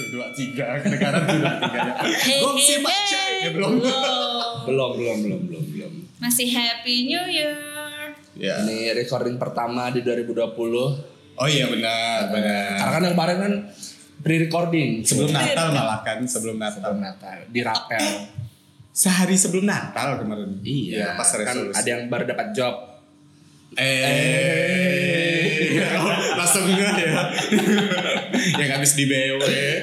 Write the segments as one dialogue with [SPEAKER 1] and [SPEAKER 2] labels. [SPEAKER 1] dua tiga negara dua tiga ya.
[SPEAKER 2] Hey,
[SPEAKER 1] Gongsi
[SPEAKER 2] hey,
[SPEAKER 1] Pak Cai.
[SPEAKER 2] hey.
[SPEAKER 1] Ya, belum.
[SPEAKER 2] Belum.
[SPEAKER 3] belum belum belum belum belum
[SPEAKER 2] Masih Happy New Year.
[SPEAKER 1] Ya.
[SPEAKER 3] ini recording pertama di 2020
[SPEAKER 1] Oh iya benar
[SPEAKER 3] karena
[SPEAKER 1] benar.
[SPEAKER 3] kan yang kemarin kan pre-recording
[SPEAKER 1] Eh. Sebelum Natal malah kan sebelum
[SPEAKER 3] sebelum
[SPEAKER 1] Natal.
[SPEAKER 3] Natal di rapel
[SPEAKER 1] Sehari sebelum Natal kemarin. Ya, pas
[SPEAKER 3] kan
[SPEAKER 1] resolusi.
[SPEAKER 3] ada yang baru dapat job
[SPEAKER 1] Eh, langsung enggak ya. yang habis di BW.
[SPEAKER 3] Eh.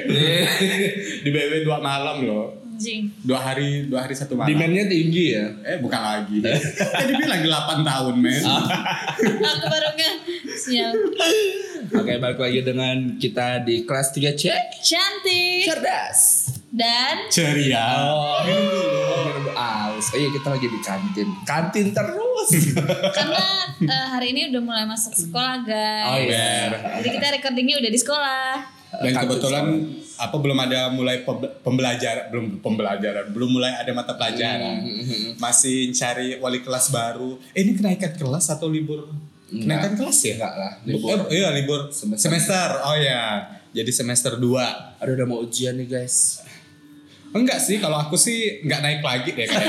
[SPEAKER 1] di BW dua malam loh.
[SPEAKER 2] Anjing.
[SPEAKER 1] Dua hari, dua hari satu malam.
[SPEAKER 3] demandnya tinggi ya
[SPEAKER 1] Eh, bukan lagi. Tadi bilang 8 tahun, men.
[SPEAKER 3] Ah.
[SPEAKER 2] Aku baru nge sial.
[SPEAKER 3] oke balik lagi dengan kita di kelas 3 C
[SPEAKER 2] Cantik
[SPEAKER 3] cerdas
[SPEAKER 2] dan
[SPEAKER 1] Ceria.
[SPEAKER 3] oh minum dulu aus oh iya kita lagi di kantin kantin terus
[SPEAKER 2] karena eh, hari ini udah mulai masuk sekolah
[SPEAKER 3] oh
[SPEAKER 2] guys.
[SPEAKER 3] iya
[SPEAKER 2] Jadi kita recordingnya udah di sekolah.
[SPEAKER 1] Dan
[SPEAKER 3] Kantin
[SPEAKER 1] kebetulan apa belum ada mulai pembe- pembelajaran, belum pembelajaran, belum mulai ada mata
[SPEAKER 3] Hmm,
[SPEAKER 1] pelajaran. Masih cari wali kelas baru. Eh, ini kenaikan kelas atau libur?
[SPEAKER 3] Enggak.
[SPEAKER 1] Kenaikan kelas ya?
[SPEAKER 3] enggak lah
[SPEAKER 1] Libur.
[SPEAKER 3] libur
[SPEAKER 1] Eh, iya libur semester.
[SPEAKER 3] Semester.
[SPEAKER 1] Oh ya. Jadi semester 2.
[SPEAKER 3] aduh udah mau ujian nih guys
[SPEAKER 1] Enggak sih, kalau aku sih enggak naik lagi deh kayaknya.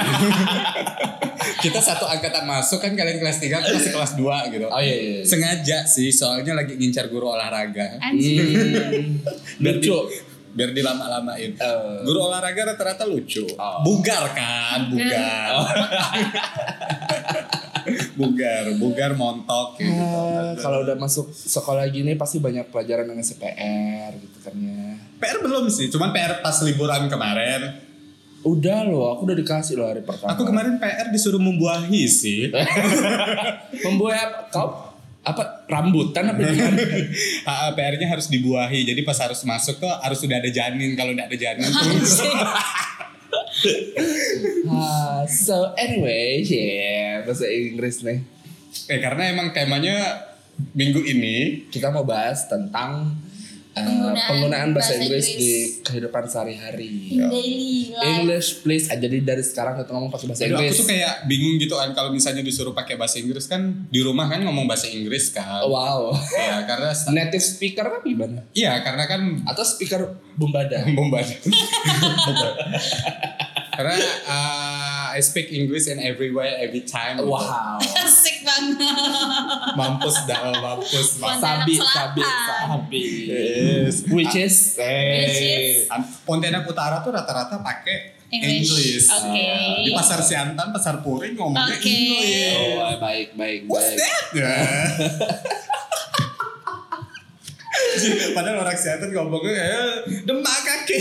[SPEAKER 1] Kita satu angkatan masuk kan kalian kelas 3, aku masih kelas 2 gitu.
[SPEAKER 3] oh iya iya
[SPEAKER 1] Sengaja sih, soalnya lagi ngincar guru olahraga.
[SPEAKER 2] Anjing.
[SPEAKER 1] Biar
[SPEAKER 3] lucu
[SPEAKER 1] di- biar dilama-lamain.
[SPEAKER 3] Eh.
[SPEAKER 1] Guru olahraga rata-rata lucu.
[SPEAKER 3] Oh.
[SPEAKER 1] Bugar kan, bugar. bugar, bugar montok kayak gitu.
[SPEAKER 3] Ah, kalau udah masuk sekolah gini pasti banyak pelajaran dengan CPR gitu kan ya.
[SPEAKER 1] PR belum sih, cuman PR pas liburan kemarin.
[SPEAKER 3] Udah loh, aku udah dikasih loh hari pertama.
[SPEAKER 1] Aku kemarin PR disuruh membuahi sih.
[SPEAKER 3] membuat apa? Kau apa rambutan apa gimana?
[SPEAKER 1] Ah, ah, PR-nya harus dibuahi. Jadi pas harus masuk tuh harus sudah ada janin. Kalau nggak ada janin tuh
[SPEAKER 2] Anjing.
[SPEAKER 3] Ah, so anyway, yeah, bahasa Inggris nih.
[SPEAKER 1] eh karena emang temanya minggu ini
[SPEAKER 3] Kita mau bahas tentang eh,
[SPEAKER 2] Penggunaan
[SPEAKER 3] penggunaan, bahasa,
[SPEAKER 2] bahasa
[SPEAKER 3] Inggris,
[SPEAKER 2] Inggris.
[SPEAKER 3] di kehidupan sehari-hari.
[SPEAKER 2] In daily life.
[SPEAKER 3] English please. Ah, Jadi dari sekarang kita ngomong pakai bahasa
[SPEAKER 1] Aduh,
[SPEAKER 3] Inggris.
[SPEAKER 1] aku tuh kayak bingung gitu kan kalau misalnya disuruh pakai bahasa Inggris kan di rumah kan ngomong bahasa Inggris
[SPEAKER 3] Oh,
[SPEAKER 1] kan.
[SPEAKER 3] Wow.
[SPEAKER 1] Ya karena
[SPEAKER 3] Native speaker apa gimana?
[SPEAKER 1] iya karena kan
[SPEAKER 3] Atau speaker bumbada?
[SPEAKER 1] membaca. karena ah, I speak English in everywhere every time. gitu.
[SPEAKER 3] Wow.
[SPEAKER 2] Asik banget.
[SPEAKER 1] Mampus dah, mampus. mampus.
[SPEAKER 2] Pontianak
[SPEAKER 3] Sabi,
[SPEAKER 2] Selatan.
[SPEAKER 3] sabi, sabi.
[SPEAKER 1] Yes.
[SPEAKER 3] Which is
[SPEAKER 2] Which is-
[SPEAKER 1] An- Pontianak Utara tuh rata-rata pakai
[SPEAKER 2] English.
[SPEAKER 1] English. Iya.
[SPEAKER 2] Oke.
[SPEAKER 1] Di pasar Siantan, pasar Puring ngomongnya
[SPEAKER 2] Oke.
[SPEAKER 1] English.
[SPEAKER 3] Oh, baik, baik,
[SPEAKER 1] What's
[SPEAKER 3] baik.
[SPEAKER 1] that? ya? Padahal orang Siantan ngomongnya kayak demak kaki.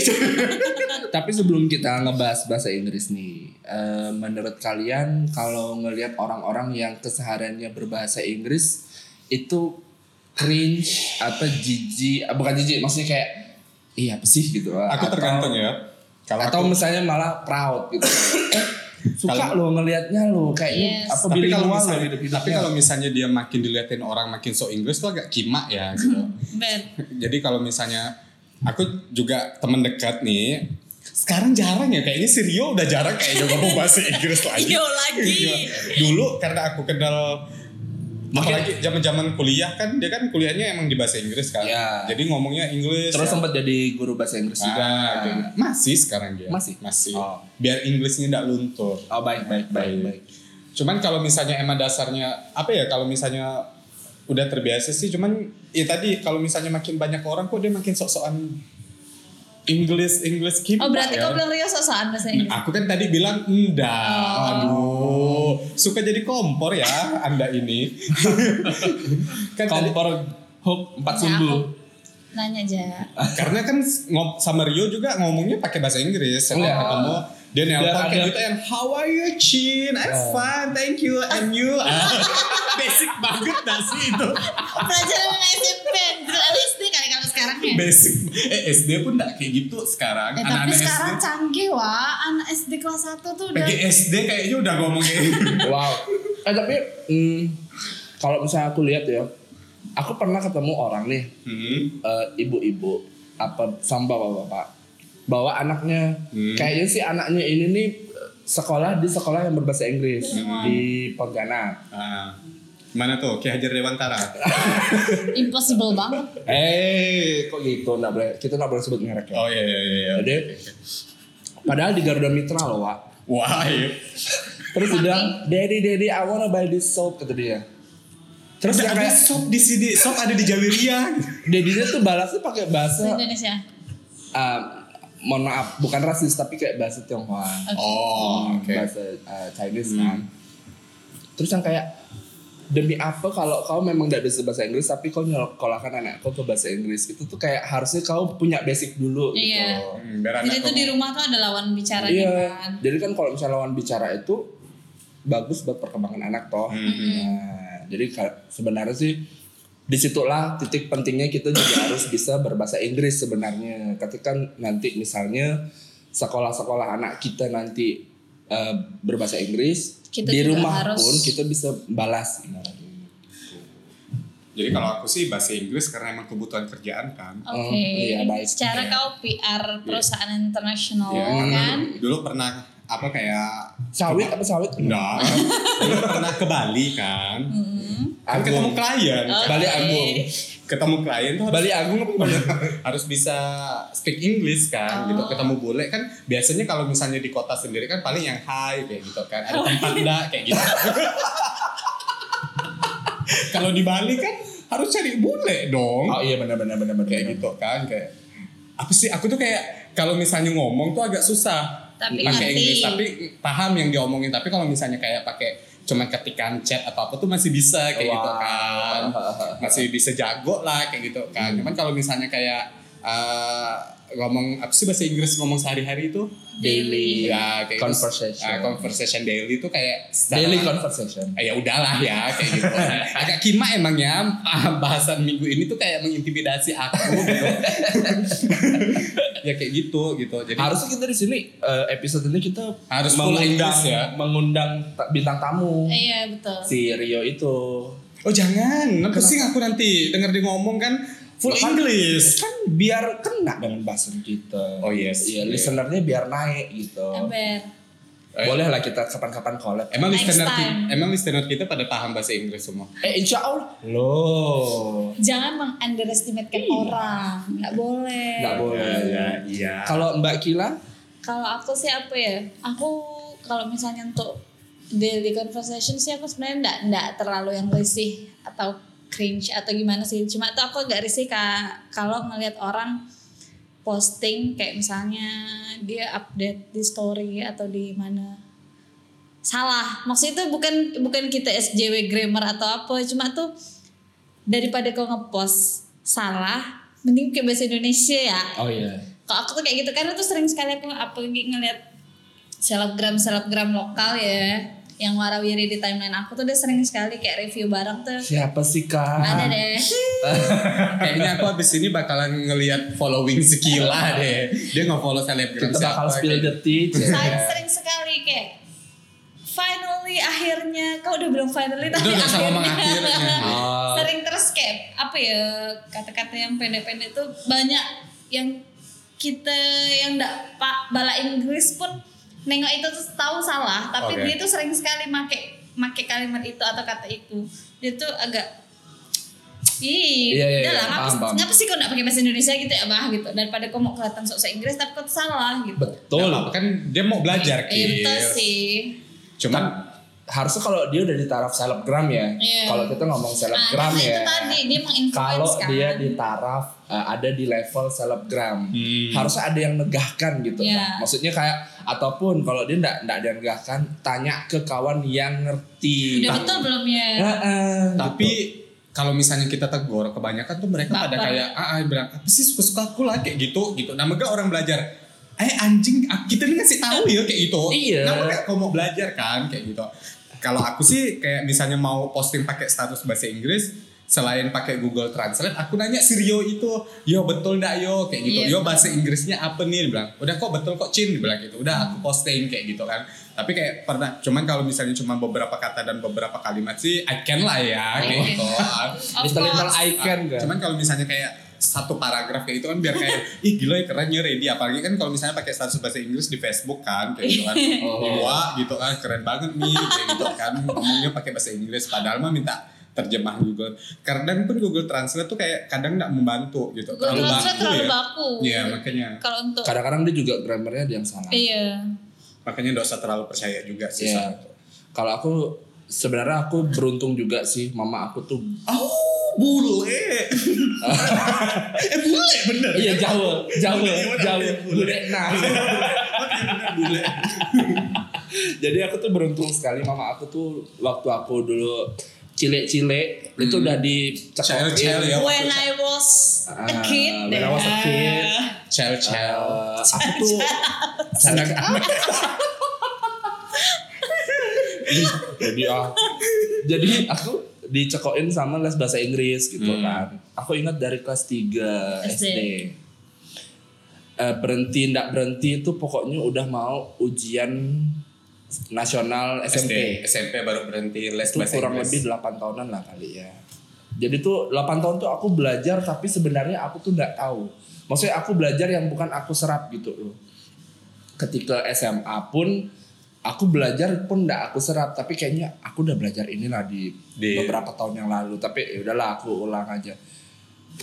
[SPEAKER 3] Tapi sebelum kita ngebahas bahasa Inggris nih, eh, menurut kalian kalau ngelihat orang-orang yang kesehariannya berbahasa Inggris itu cringe atau jijik? Ah, Bukan jijik, maksudnya kayak iya apa sih gitu.
[SPEAKER 1] aku
[SPEAKER 3] Atau-
[SPEAKER 1] tergantung ya. Kalau
[SPEAKER 3] Atau
[SPEAKER 1] aku,
[SPEAKER 3] misalnya malah proud gitu. Eh, Suka lo ngelihatnya lo
[SPEAKER 2] Yes.
[SPEAKER 3] kayaknya apa
[SPEAKER 1] tapi
[SPEAKER 3] bilingual
[SPEAKER 1] kalau
[SPEAKER 3] lo
[SPEAKER 1] misalnya, Iya.
[SPEAKER 3] hidup-hidupnya.
[SPEAKER 1] tapi kalau misalnya dia makin diliatin orang makin so Inggris tuh agak kimak ya gitu.
[SPEAKER 2] Bet.
[SPEAKER 1] Jadi kalau misalnya aku juga teman dekat nih, sekarang jarang ya kayaknya si Rio udah jarang kayaknya ngomong bahasa Inggris Iya, lagi.
[SPEAKER 2] Yo lagi.
[SPEAKER 1] Dulu karena aku kenal apalagi zaman-zaman kuliah kan dia kan kuliahnya emang di bahasa Inggris kan.
[SPEAKER 3] Iya.
[SPEAKER 1] Jadi ngomongnya Inggris.
[SPEAKER 3] Terus
[SPEAKER 1] ya.
[SPEAKER 3] sempat jadi guru bahasa Inggris juga.
[SPEAKER 1] Ah, kayak gitu. masih sekarang dia.
[SPEAKER 3] Masih?
[SPEAKER 1] Masih.
[SPEAKER 3] Oh.
[SPEAKER 1] Biar Inggrisnya ndak luntur.
[SPEAKER 3] Oh baik baik baik baik.
[SPEAKER 1] Cuman kalau misalnya emang dasarnya apa ya kalau misalnya udah terbiasa sih cuman ya tadi kalau misalnya makin banyak orang kok dia makin sok-sokan English English keep
[SPEAKER 2] Oh berarti
[SPEAKER 1] ya.
[SPEAKER 2] kau bilang Rio sosokan bahasa Inggris.
[SPEAKER 1] Aku kan tadi bilang enggak.
[SPEAKER 2] Oh.
[SPEAKER 1] Aduh, suka jadi kompor ya Anda ini. kan tadi-
[SPEAKER 3] Kompor hop empat sumbu.
[SPEAKER 2] Nanya aja.
[SPEAKER 1] karena kan ngom sama Rio juga ngomongnya pakai bahasa Inggris. Saya
[SPEAKER 3] Iya.
[SPEAKER 1] ketemu dia nelpon
[SPEAKER 3] Biar
[SPEAKER 1] kayak
[SPEAKER 3] ada-
[SPEAKER 1] gitu yang How are you, Chin? I'm
[SPEAKER 3] Oh.
[SPEAKER 1] fine, thank you, and you? Ah, Basic banget gak sih itu?
[SPEAKER 2] Pelajaran SMP, dulu LSD kali kalau sekarang ya.
[SPEAKER 1] Basic. Eh SD pun gak kayak gitu sekarang.
[SPEAKER 2] Eh, tapi sekarang canggih wah, anak SD kelas 1 tuh udah
[SPEAKER 1] SD kayaknya udah ngomong kayak
[SPEAKER 3] Wow. Eh tapi hmm, kalau misalnya aku lihat ya, aku pernah ketemu orang nih
[SPEAKER 1] Hmm.
[SPEAKER 3] eh, ibu-ibu apa sama bapak-bapak bawa anaknya.
[SPEAKER 1] Hmm.
[SPEAKER 3] Kayaknya sih anaknya ini nih eh, sekolah di sekolah yang berbahasa Inggris
[SPEAKER 2] Hmm.
[SPEAKER 3] di Pontianak.
[SPEAKER 1] Ah. Mana tuh? Ki Hajar Dewantara.
[SPEAKER 2] Impossible banget.
[SPEAKER 3] Eh, kok gitu? Nggak boleh, kita nggak boleh sebut merek ya.
[SPEAKER 1] Oh iya iya iya.
[SPEAKER 3] Jadi, padahal di Garuda Mitra loh, Wak.
[SPEAKER 1] Wah, iya.
[SPEAKER 3] Terus dia bilang, Daddy, Daddy, I wanna buy this soap, kata dia. Terus
[SPEAKER 1] Terus
[SPEAKER 3] yang
[SPEAKER 1] ada
[SPEAKER 3] kayak,
[SPEAKER 1] sop di sini, sop ada di Jawiria.
[SPEAKER 3] Daddy dia tuh balasnya pakai bahasa,
[SPEAKER 2] Bahasa Indonesia.
[SPEAKER 3] eh, mohon maaf, bukan rasis, tapi kayak bahasa Tionghoa.
[SPEAKER 1] Oh, oke. Hmm.
[SPEAKER 3] Bahasa eh, Chinese kan. Terus yang kayak, demi apa kalau kau memang tidak bisa bahasa Inggris tapi kau nyolok-kolakan anak kau ke bahasa Inggris itu tuh kayak harusnya kau punya basic dulu gitu.
[SPEAKER 2] Iya.
[SPEAKER 1] Hmm, biar anak
[SPEAKER 2] Jadi tuh
[SPEAKER 1] kamu-
[SPEAKER 2] di rumah tuh ada lawan bicaranya
[SPEAKER 3] Iya.
[SPEAKER 2] kan.
[SPEAKER 3] Jadi kan kalau misalnya lawan bicara itu bagus buat perkembangan anak toh. Nah, jadi ka- sebenarnya sih disitulah titik pentingnya kita juga harus bisa berbahasa Inggris sebenarnya. Ketika nanti misalnya sekolah-sekolah anak kita nanti eh, berbahasa Inggris
[SPEAKER 2] Kita
[SPEAKER 3] di
[SPEAKER 2] juga
[SPEAKER 3] rumah
[SPEAKER 2] harus-
[SPEAKER 3] pun kita bisa balas. ibaratnya.
[SPEAKER 1] Jadi kalau aku sih bahasa Inggris karena emang kebutuhan kerjaan kan.
[SPEAKER 2] Oke.
[SPEAKER 3] Oh, iya, baik.
[SPEAKER 2] Secara kau PR perusahaan internasional
[SPEAKER 1] Iya,
[SPEAKER 2] kan.
[SPEAKER 1] dulu- Dulu pernah apa kayak
[SPEAKER 3] Sawit apa sawit?
[SPEAKER 1] enggak. dulu pernah ke Bali kan.
[SPEAKER 2] Mm-hmm.
[SPEAKER 1] Kan ketemu
[SPEAKER 3] Agung.
[SPEAKER 1] klien.
[SPEAKER 2] Oke.
[SPEAKER 3] Bali Agung.
[SPEAKER 1] Ketemu klien tuh harus,
[SPEAKER 3] Oh. Bali Agung apa Bali?
[SPEAKER 1] harus bisa speak English kan gitu. Ketemu bule kan biasanya kalau misalnya di kota sendiri kan paling yang hi kayak gitu kan. Ada tempat enggak kayak gitu. kalau di Bali kan harus cari bule dong.
[SPEAKER 3] Oh iya benar-benar benar-benar
[SPEAKER 1] kayak gitu kan kayak apa sih aku tuh kayak kalau misalnya ngomong tuh agak susah
[SPEAKER 2] Tapi
[SPEAKER 1] pakai
[SPEAKER 2] ngerti.
[SPEAKER 1] Inggris tapi paham yang diomongin tapi kalau misalnya kayak pakai cuma ketikan chat atau apa tuh masih bisa kayak gitu
[SPEAKER 3] Wow.
[SPEAKER 1] kan masih bisa jago lah kayak gitu kan
[SPEAKER 3] Hmm.
[SPEAKER 1] cuman kalau misalnya kayak eh, ngomong apa sih bahasa Inggris ngomong sehari-hari itu
[SPEAKER 3] Daily conversation.
[SPEAKER 1] ah, conversation daily tuh kayak secara-
[SPEAKER 3] Daily conversation.
[SPEAKER 1] Ah, ya udahlah ya kayak gitu agak kima emangnya ah, bahasan minggu ini tuh kayak mengintimidasi aku gitu. ya kayak gitu gitu jadi
[SPEAKER 3] Harusnya kita di sini eh, episode ini kita
[SPEAKER 1] Harus full Inggris ya.
[SPEAKER 3] mengundang ta- bintang tamu
[SPEAKER 2] Iya betul.
[SPEAKER 3] si Rio itu.
[SPEAKER 1] oh jangan pusing aku nanti denger dia ngomong kan full
[SPEAKER 3] Bahkan-
[SPEAKER 1] English
[SPEAKER 3] Kan biar kena dengan bahasa kita.
[SPEAKER 1] Oh, yes.
[SPEAKER 3] Iya,
[SPEAKER 1] Iya.
[SPEAKER 3] listenernya biar naik gitu.
[SPEAKER 2] Ember.
[SPEAKER 3] Boleh lah kita kapan-kapan collab.
[SPEAKER 1] emang
[SPEAKER 2] Next
[SPEAKER 1] listener kita,
[SPEAKER 2] time.
[SPEAKER 1] emang listener kita pada paham bahasa Inggris semua
[SPEAKER 3] Eh insya Allah. Loh.
[SPEAKER 2] Jangan meng-underestimate-kan orang. Nggak boleh.
[SPEAKER 3] Iya. Nggak
[SPEAKER 1] Ya,
[SPEAKER 3] boleh.
[SPEAKER 1] Oh, iya
[SPEAKER 3] Kalau Mbak Kila,
[SPEAKER 2] Kalau aku sih apa ya? Aku kalau misalnya untuk daily conversation sih aku sebenarnya nggak nggak terlalu yang risih atau cringe atau gimana sih. Cuma tuh aku nggak risih ka- kalau ngelihat orang posting kayak misalnya dia update di story atau di mana salah maksudnya itu bukan bukan kita SJW grammar atau apa cuma tuh daripada kau ngepost salah mending kayak bahasa Indonesia ya
[SPEAKER 3] oh iya.
[SPEAKER 2] kalau aku tuh kayak gitu karena tuh sering sekali aku apalagi ngeliat selebgram selebgram lokal ya yang warawiri di timeline aku tuh udah sering sekali kayak review barang tuh
[SPEAKER 3] Siapa sih Kak?
[SPEAKER 2] ada deh
[SPEAKER 1] kayaknya aku abis ini bakalan ngelihat following sekila deh dia nggak follow selebgram
[SPEAKER 3] Kita bakal
[SPEAKER 1] siapa,
[SPEAKER 3] spill
[SPEAKER 1] kayak gitu.
[SPEAKER 3] the tea. Cek.
[SPEAKER 2] saya sering sekali kayak finally akhirnya kau udah bilang
[SPEAKER 1] Itu
[SPEAKER 2] finally tapi
[SPEAKER 1] udah sama
[SPEAKER 2] akhirnya,
[SPEAKER 1] mengakhirnya.
[SPEAKER 3] Ah.
[SPEAKER 2] sering terus kayak apa ya kata-kata yang pendek-pendek tuh banyak yang kita yang ndak pak bala Inggris pun nengok itu tuh tahu salah tapi
[SPEAKER 1] Oke.
[SPEAKER 2] dia tuh sering sekali make make kalimat itu atau kata itu dia tuh agak Ih,
[SPEAKER 3] Iya, iya,
[SPEAKER 2] udah lah,
[SPEAKER 3] iya,
[SPEAKER 2] ngapa,
[SPEAKER 3] paham, paham.
[SPEAKER 2] ngapa sih kau nggak pakai bahasa Indonesia gitu ya, bah gitu. Daripada kau mau kelihatan sok-sok Inggris tapi kau tuh salah gitu.
[SPEAKER 1] Nggak
[SPEAKER 3] Betul.
[SPEAKER 1] apa-apa, kan dia mau belajar
[SPEAKER 2] Iya betul
[SPEAKER 1] Kil.
[SPEAKER 2] sih.
[SPEAKER 1] cuman
[SPEAKER 3] harusnya kalau dia udah di taraf selebgram ya.
[SPEAKER 2] Iya.
[SPEAKER 3] Kalau kita ngomong
[SPEAKER 2] Nah,
[SPEAKER 3] selebgram
[SPEAKER 2] karena
[SPEAKER 3] ya.
[SPEAKER 2] itu tadi dia
[SPEAKER 3] Kalau
[SPEAKER 2] menginfluence kan.
[SPEAKER 3] dia di taraf uh, ada di level selebgram, harusnya ada yang negahkan gitu.
[SPEAKER 2] Iya.
[SPEAKER 3] Nah, Maksudnya kayak ataupun kalau dia ndak ndak ada yang negahkan, tanya ke kawan yang ngerti.
[SPEAKER 2] Udah betul belum ya?
[SPEAKER 3] Nah, eh,
[SPEAKER 1] tapi
[SPEAKER 3] gitu.
[SPEAKER 1] kalau misalnya kita tegur kebanyakan tuh mereka pada
[SPEAKER 2] Baper.
[SPEAKER 1] kayak ah, ah," bilang apa sih suka-suka aku lah kayak gitu gitu nah mega orang belajar eh anjing ah, kita ini ngasih tahu ya kayak gitu
[SPEAKER 3] Iya.
[SPEAKER 1] kenapa kayak kau mau belajar kan kayak gitu kalau aku sih kayak misalnya mau posting pakai status bahasa Inggris selain pakai Google Translate aku nanya si Rio itu yo betul ndak yo kayak gitu
[SPEAKER 2] Iya,
[SPEAKER 1] yo bahasa Inggrisnya apa nih dia bilang udah kok betul kok Cin dia bilang gitu udah aku posting kayak gitu kan tapi kayak pernah cuman kalau misalnya cuma beberapa kata dan beberapa kalimat sih I can lah ya kayak
[SPEAKER 2] Oke.
[SPEAKER 1] gitu
[SPEAKER 2] Of
[SPEAKER 3] Little little
[SPEAKER 2] course.
[SPEAKER 3] I can kan.
[SPEAKER 1] Cuman kalau misalnya kayak satu paragraf kayak itu kan biar kayak ih gila ya keren ya ready apalagi kan kalau misalnya pakai status bahasa Inggris di Facebook kan kayak gitu kan
[SPEAKER 3] Oh.
[SPEAKER 1] wah gitu kan keren banget nih kayak gitu kan ngomongnya pakai bahasa Inggris padahal mah minta terjemah Google. Kadang pun Google Translate tuh kayak kadang nggak membantu gitu.
[SPEAKER 2] Google Translate terlalu
[SPEAKER 1] ya.
[SPEAKER 2] baku.
[SPEAKER 1] Iya makanya
[SPEAKER 2] Kalau untuk
[SPEAKER 3] Kadang-kadang dia juga grammarnya ada yang salah.
[SPEAKER 2] iya.
[SPEAKER 1] makanya nggak usah terlalu percaya juga sih.
[SPEAKER 3] Iya.
[SPEAKER 1] soal itu.
[SPEAKER 3] Kalau aku sebenarnya aku beruntung juga sih mama aku tuh
[SPEAKER 1] Oh bule. eh bule bener.
[SPEAKER 3] iya Jawa, Jawa,
[SPEAKER 1] Bule,
[SPEAKER 3] Jawa,
[SPEAKER 1] bule.
[SPEAKER 3] bule. Nah, jadi aku tuh beruntung sekali mama aku tuh waktu aku dulu cilik-cilik itu udah gitu. dicekokin.
[SPEAKER 1] Child-child ya.
[SPEAKER 2] When I was a
[SPEAKER 3] Ah,
[SPEAKER 2] kid.
[SPEAKER 3] when I was a kid.
[SPEAKER 1] Cel cel.
[SPEAKER 3] Eh, aku tuh
[SPEAKER 1] Anak-anak.
[SPEAKER 3] Ih, jadi ah. jadi aku dicekokin sama les bahasa Inggris gitu
[SPEAKER 1] Hmm.
[SPEAKER 3] kan aku ingat dari kelas 3 SD,
[SPEAKER 2] SD.
[SPEAKER 3] Eh, berhenti ndak berhenti itu pokoknya udah mau ujian nasional
[SPEAKER 1] SMP
[SPEAKER 3] SMP
[SPEAKER 1] SMP baru berhenti les
[SPEAKER 3] itu
[SPEAKER 1] bahasa
[SPEAKER 3] kurang
[SPEAKER 1] Inggris.
[SPEAKER 3] lebih 8 tahunan lah kali ya jadi tuh 8 tahun tuh aku belajar tapi sebenarnya aku tuh ndak tahu maksudnya aku belajar yang bukan aku serap gitu loh ketika SMA pun aku belajar pun ndak aku serap tapi kayaknya aku udah belajar inilah di,
[SPEAKER 1] Di-
[SPEAKER 3] beberapa tahun yang lalu tapi ya udahlah aku ulang aja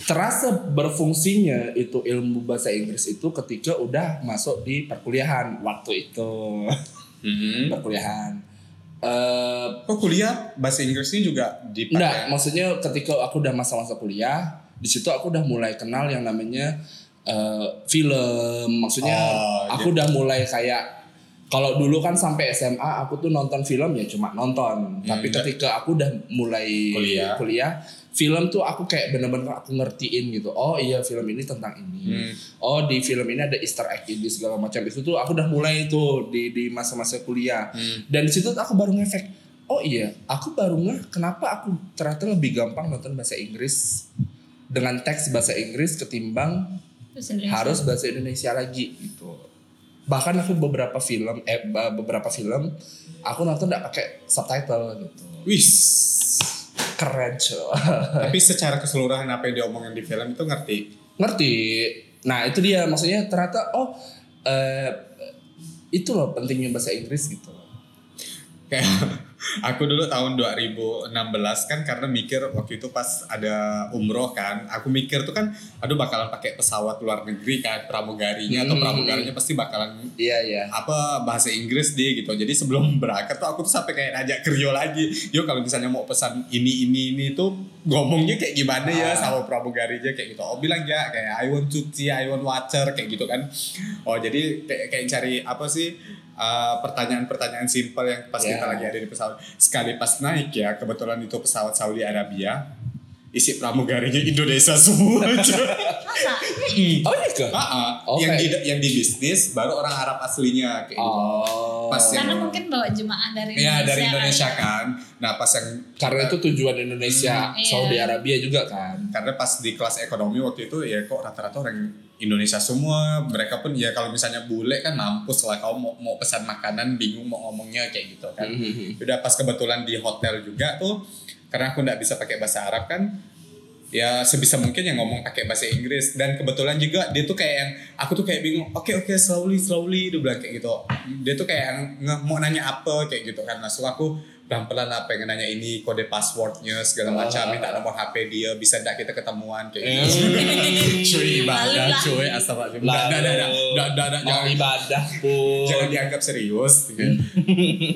[SPEAKER 3] terasa berfungsinya itu ilmu bahasa Inggris itu ketika udah masuk di perkuliahan waktu itu
[SPEAKER 1] Mhm.
[SPEAKER 3] Mm-hmm. perkuliahan eh
[SPEAKER 1] Kok kuliah bahasa Inggrisnya juga dipakai?
[SPEAKER 3] Enggak, maksudnya ketika aku udah masa-masa kuliah, di situ aku udah mulai kenal yang namanya eh, film. Maksudnya
[SPEAKER 1] Oh,
[SPEAKER 3] aku udah mulai kayak kalau dulu kan sampai SMA aku tuh nonton film ya cuma nonton. Tapi
[SPEAKER 1] enggak.
[SPEAKER 3] ketika aku udah mulai
[SPEAKER 1] Kuliah.
[SPEAKER 3] film tuh aku kayak bener-bener aku ngertiin gitu. Oh iya film ini tentang ini.
[SPEAKER 1] Hmm.
[SPEAKER 3] Oh di film ini ada Easter egg ini segala macam. Itu tuh aku udah mulai tuh di di masa-masa kuliah.
[SPEAKER 1] Hmm.
[SPEAKER 3] Dan di situ tuh aku baru ngefek. Oh iya, aku baru ngeh kenapa aku ternyata lebih gampang nonton bahasa Inggris dengan teks bahasa Inggris ketimbang
[SPEAKER 2] Terus Indonesia.
[SPEAKER 3] harus bahasa Indonesia lagi gitu. Bahkan aku beberapa film eh ba- beberapa film aku nonton nggak pakai subtitle gitu.
[SPEAKER 1] Wis.
[SPEAKER 3] Keren cuy.
[SPEAKER 1] Tapi secara keseluruhan apa yang diomongin di film itu ngerti.
[SPEAKER 3] Ngerti? Nah, itu dia maksudnya ternyata oh eh, itu loh pentingnya bahasa Inggris gitu.
[SPEAKER 1] Kayak aku dulu tahun 2016 kan karena mikir waktu itu pas ada umroh kan, aku mikir tuh kan aduh bakalan pakai pesawat luar negeri kan pramugarinya atau
[SPEAKER 3] Hmm.
[SPEAKER 1] pramugarinya pasti bakalan
[SPEAKER 3] Iya, iya.
[SPEAKER 1] apa bahasa Inggris dia gitu. Jadi sebelum berangkat tuh aku tuh sampai kayak ajak kerja lagi. Yo kalau misalnya mau pesan ini ini ini tuh ngomongnya kayak gimana ya
[SPEAKER 3] Ah.
[SPEAKER 1] sama pramugarinya kayak gitu. Oh bilang ya kayak I want to see, I want water kayak gitu kan. Oh jadi kayak, kayak cari apa sih uh, pertanyaan-pertanyaan simpel yang pas
[SPEAKER 3] Ya.
[SPEAKER 1] kita lagi ada di pesawat. Sekali pas naik ya kebetulan itu pesawat Saudi Arabia isi pramugarinya Indonesia semua.
[SPEAKER 2] Masa?
[SPEAKER 3] Oh, iya kah?
[SPEAKER 1] Ah, ah.
[SPEAKER 3] Oh,
[SPEAKER 1] yang di
[SPEAKER 3] kayak-
[SPEAKER 1] yang di bisnis baru orang Arab aslinya kayak gitu.
[SPEAKER 3] Oh.
[SPEAKER 1] Pas yang-
[SPEAKER 2] Karena mungkin bawa jemaah dari Indonesia.
[SPEAKER 1] Iya dari Indonesia
[SPEAKER 2] kali. ya.
[SPEAKER 1] kan. Nah pas yang
[SPEAKER 3] karena itu tujuan Indonesia
[SPEAKER 2] Hmm, iya.
[SPEAKER 3] Saudi Arabia juga kan
[SPEAKER 1] karena pas di kelas ekonomi waktu itu ya kok rata-rata orang Indonesia semua mereka pun ya kalau misalnya bule kan mampus lah kau mau mau pesan makanan bingung mau ngomongnya kayak gitu kan.
[SPEAKER 2] Hmm.
[SPEAKER 1] Udah pas kebetulan di hotel juga tuh karena aku nggak bisa pakai bahasa Arab kan ya sebisa mungkin yang ngomong pakai bahasa Inggris dan kebetulan juga dia tuh kayak yang aku tuh kayak bingung oke oke slowly slowly dia bilang kayak gitu dia tuh kayak yang nge- mau nanya apa kayak gitu kan langsung aku pelan pelan apa yang nanya ini kode passwordnya
[SPEAKER 2] Oh.
[SPEAKER 1] segala macam minta nomor HP dia bisa nggak kita ketemuan kayak gitu cuy ibadah
[SPEAKER 2] Lalu Eh. lah.
[SPEAKER 1] cuy astagfirullah nggak nggak nggak nggak nggak, nggak
[SPEAKER 3] mau
[SPEAKER 1] jangan
[SPEAKER 3] ibadah pun
[SPEAKER 1] jangan dianggap serius gitu.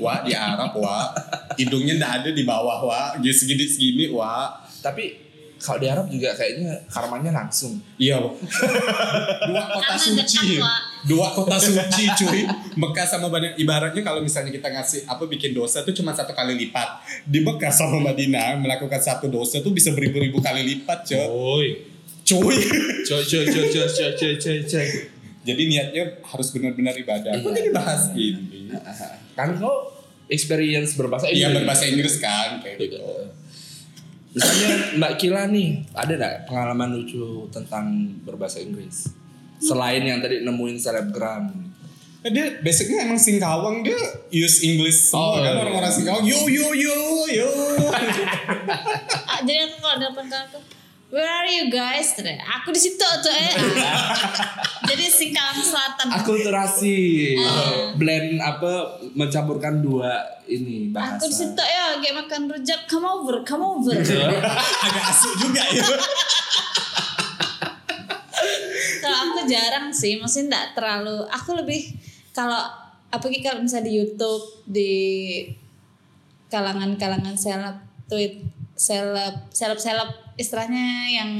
[SPEAKER 1] wah di Arab wah hidungnya nggak ada di bawah wah gini segini segini wah
[SPEAKER 3] tapi kalau di Arab juga kayaknya karmanya langsung
[SPEAKER 1] Iya, Bang. dua kota
[SPEAKER 2] Karena
[SPEAKER 1] suci,
[SPEAKER 2] dekat, Wak.
[SPEAKER 1] dua kota suci, cuy. Mekah sama Madinah. Ibaratnya kalau misalnya kita ngasih apa bikin dosa tuh cuma satu kali lipat. Di Mekah sama Madinah melakukan satu dosa tuh bisa beribu-ribu kali lipat, cuy.
[SPEAKER 2] Oh.
[SPEAKER 3] Oi,
[SPEAKER 1] Cuy.
[SPEAKER 3] coy coy coy coy coy coy coy coy.
[SPEAKER 1] Jadi niatnya harus benar-benar ibadah. Kok
[SPEAKER 3] Iya.
[SPEAKER 1] jadi bahas ini?
[SPEAKER 2] Iya.
[SPEAKER 3] kan kau experience berbahasa
[SPEAKER 1] Iya berbahasa Inggris kan, kayak gitu.
[SPEAKER 3] misalnya Mbak Kila nih ada nggak pengalaman lucu tentang berbahasa Inggris selain yang tadi nemuin selebgram
[SPEAKER 1] Eh, Dia basicnya emang Singkawang dia use English semua kan
[SPEAKER 3] Oh, iya.
[SPEAKER 1] orang-orang Singkawang yo yo yo yo.
[SPEAKER 2] Ah, jadi aku kalau dapat kartu Where are you guys? Tere, Aku di situ tuh eh. Jadi Singkang Selatan.
[SPEAKER 3] akulturasi
[SPEAKER 2] Ah.
[SPEAKER 3] blend apa mencampurkan dua ini bahasa
[SPEAKER 2] Aku di situ ya, kayak makan rujak. Come over, come over.
[SPEAKER 3] Iya.
[SPEAKER 1] Agak asik juga ya.
[SPEAKER 2] kalau aku jarang sih, maksudnya nggak terlalu. Aku lebih kalau apalagi kalau misalnya di YouTube di kalangan-kalangan seleb tweet seleb seleb seleb istilahnya yang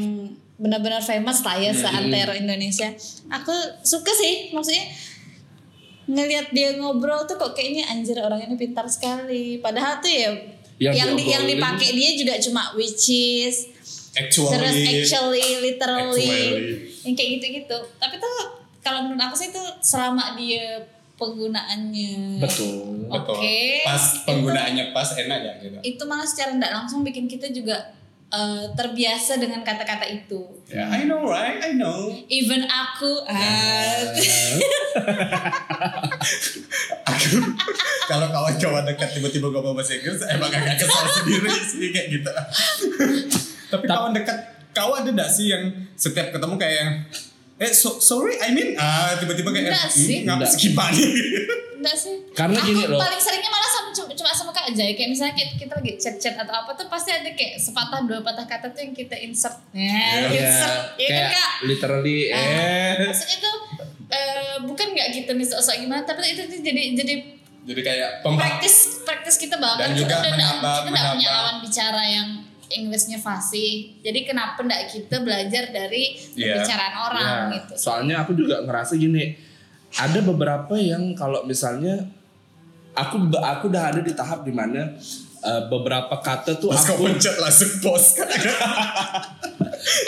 [SPEAKER 2] benar-benar famous lah ya seantero Indonesia. Aku suka sih maksudnya ngelihat dia ngobrol tuh kok kayaknya anjir orang ini pintar sekali. Padahal tuh ya yang
[SPEAKER 3] Yang
[SPEAKER 2] yang, di- yang
[SPEAKER 3] diobrolin.
[SPEAKER 2] dipakai dia juga cuma witches
[SPEAKER 1] Actually.
[SPEAKER 2] terus actually literally
[SPEAKER 1] Actually.
[SPEAKER 2] yang kayak gitu-gitu tapi tuh kalau menurut aku sih itu selama dia penggunaannya
[SPEAKER 3] betul
[SPEAKER 1] Betul.
[SPEAKER 2] Oke.
[SPEAKER 1] Pas penggunaannya pas enak ya gitu.
[SPEAKER 2] itu malah secara tidak langsung bikin kita juga eh, terbiasa dengan kata-kata itu
[SPEAKER 1] Ya, I know right, I know.
[SPEAKER 2] even aku ah,
[SPEAKER 1] Aku kalau kawan-kawan dekat tiba-tiba gue bawa bahasa Inggris, emang agak kesal sendiri sih kayak gitu. Tapi kawan dekat, kau ada gak sih yang setiap ketemu kayak yang Eh, so- sorry, I mean, ah, tiba-tiba kayak,
[SPEAKER 2] Enggak sih.
[SPEAKER 1] ngapa
[SPEAKER 3] Enggak.
[SPEAKER 1] gimana?
[SPEAKER 2] enggak sih
[SPEAKER 3] Karena
[SPEAKER 2] aku
[SPEAKER 3] gini loh.
[SPEAKER 2] paling seringnya malah sama cuma, cuma sama kak Jaya kayak misalnya kita, kita lagi chat-chat atau apa tuh pasti ada kayak sepatah dua patah kata tuh yang kita insert ya
[SPEAKER 1] Iya.
[SPEAKER 2] insert ya kan
[SPEAKER 3] kayak
[SPEAKER 2] kak
[SPEAKER 3] literally eh
[SPEAKER 2] maksudnya tuh eh, bukan nggak kita nih sok gimana tapi itu tuh jadi jadi
[SPEAKER 1] Jadi kayak pemba-
[SPEAKER 2] praktis praktis kita banget
[SPEAKER 1] Dan juga
[SPEAKER 2] Kita udah nggak-
[SPEAKER 1] menambah-
[SPEAKER 2] kita nggak punya
[SPEAKER 1] menambah.
[SPEAKER 2] lawan bicara yang Inggrisnya fasih jadi kenapa nggak kita belajar dari
[SPEAKER 1] Iya.
[SPEAKER 2] pembicaraan orang
[SPEAKER 3] Ya,
[SPEAKER 2] gitu
[SPEAKER 3] Soalnya aku juga ngerasa gini, ada beberapa yang kalau misalnya aku aku udah ada di tahap dimana eh, beberapa kata tuh
[SPEAKER 1] Pas kau
[SPEAKER 3] aku
[SPEAKER 1] pencet langsung pos kan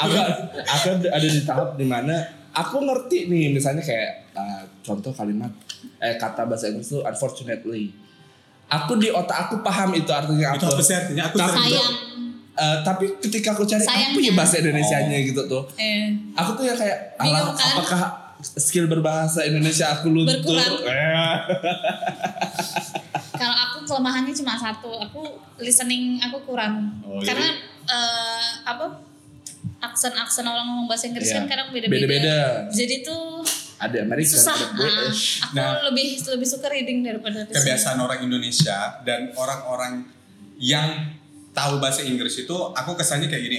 [SPEAKER 3] aku, aku ada di tahap dimana aku ngerti nih misalnya kayak eh, contoh kalimat eh kata bahasa Inggris tuh unfortunately. Aku di otak aku paham itu artinya
[SPEAKER 1] Itu
[SPEAKER 3] apa.
[SPEAKER 1] apa sih artinya? Aku
[SPEAKER 3] Tapi-
[SPEAKER 1] sering-
[SPEAKER 2] sayang
[SPEAKER 3] Eh, tapi ketika aku cari apa
[SPEAKER 2] Sayangnya.
[SPEAKER 3] ya bahasa Indonesianya
[SPEAKER 1] Oh.
[SPEAKER 3] gitu tuh.
[SPEAKER 2] eh,
[SPEAKER 3] aku tuh yang kayak alah
[SPEAKER 2] Bingung kan?
[SPEAKER 3] apakah skill berbahasa Indonesia aku luntur
[SPEAKER 2] Berkurang.
[SPEAKER 3] Eh,
[SPEAKER 2] kalau aku kelemahannya cuma satu aku listening aku kurang
[SPEAKER 1] Oh,
[SPEAKER 2] karena eh, apa aksen aksen orang ngomong bahasa Inggris
[SPEAKER 3] Iya.
[SPEAKER 2] kan kadang beda
[SPEAKER 3] Beda-beda.
[SPEAKER 2] jadi tuh
[SPEAKER 3] ada Amerika
[SPEAKER 2] susah
[SPEAKER 3] ada
[SPEAKER 2] ah.
[SPEAKER 3] British
[SPEAKER 2] aku
[SPEAKER 1] Nah.
[SPEAKER 2] lebih lebih suka reading daripada listening.
[SPEAKER 1] kebiasaan orang Indonesia dan orang-orang yang tahu bahasa Inggris itu aku kesannya kayak gini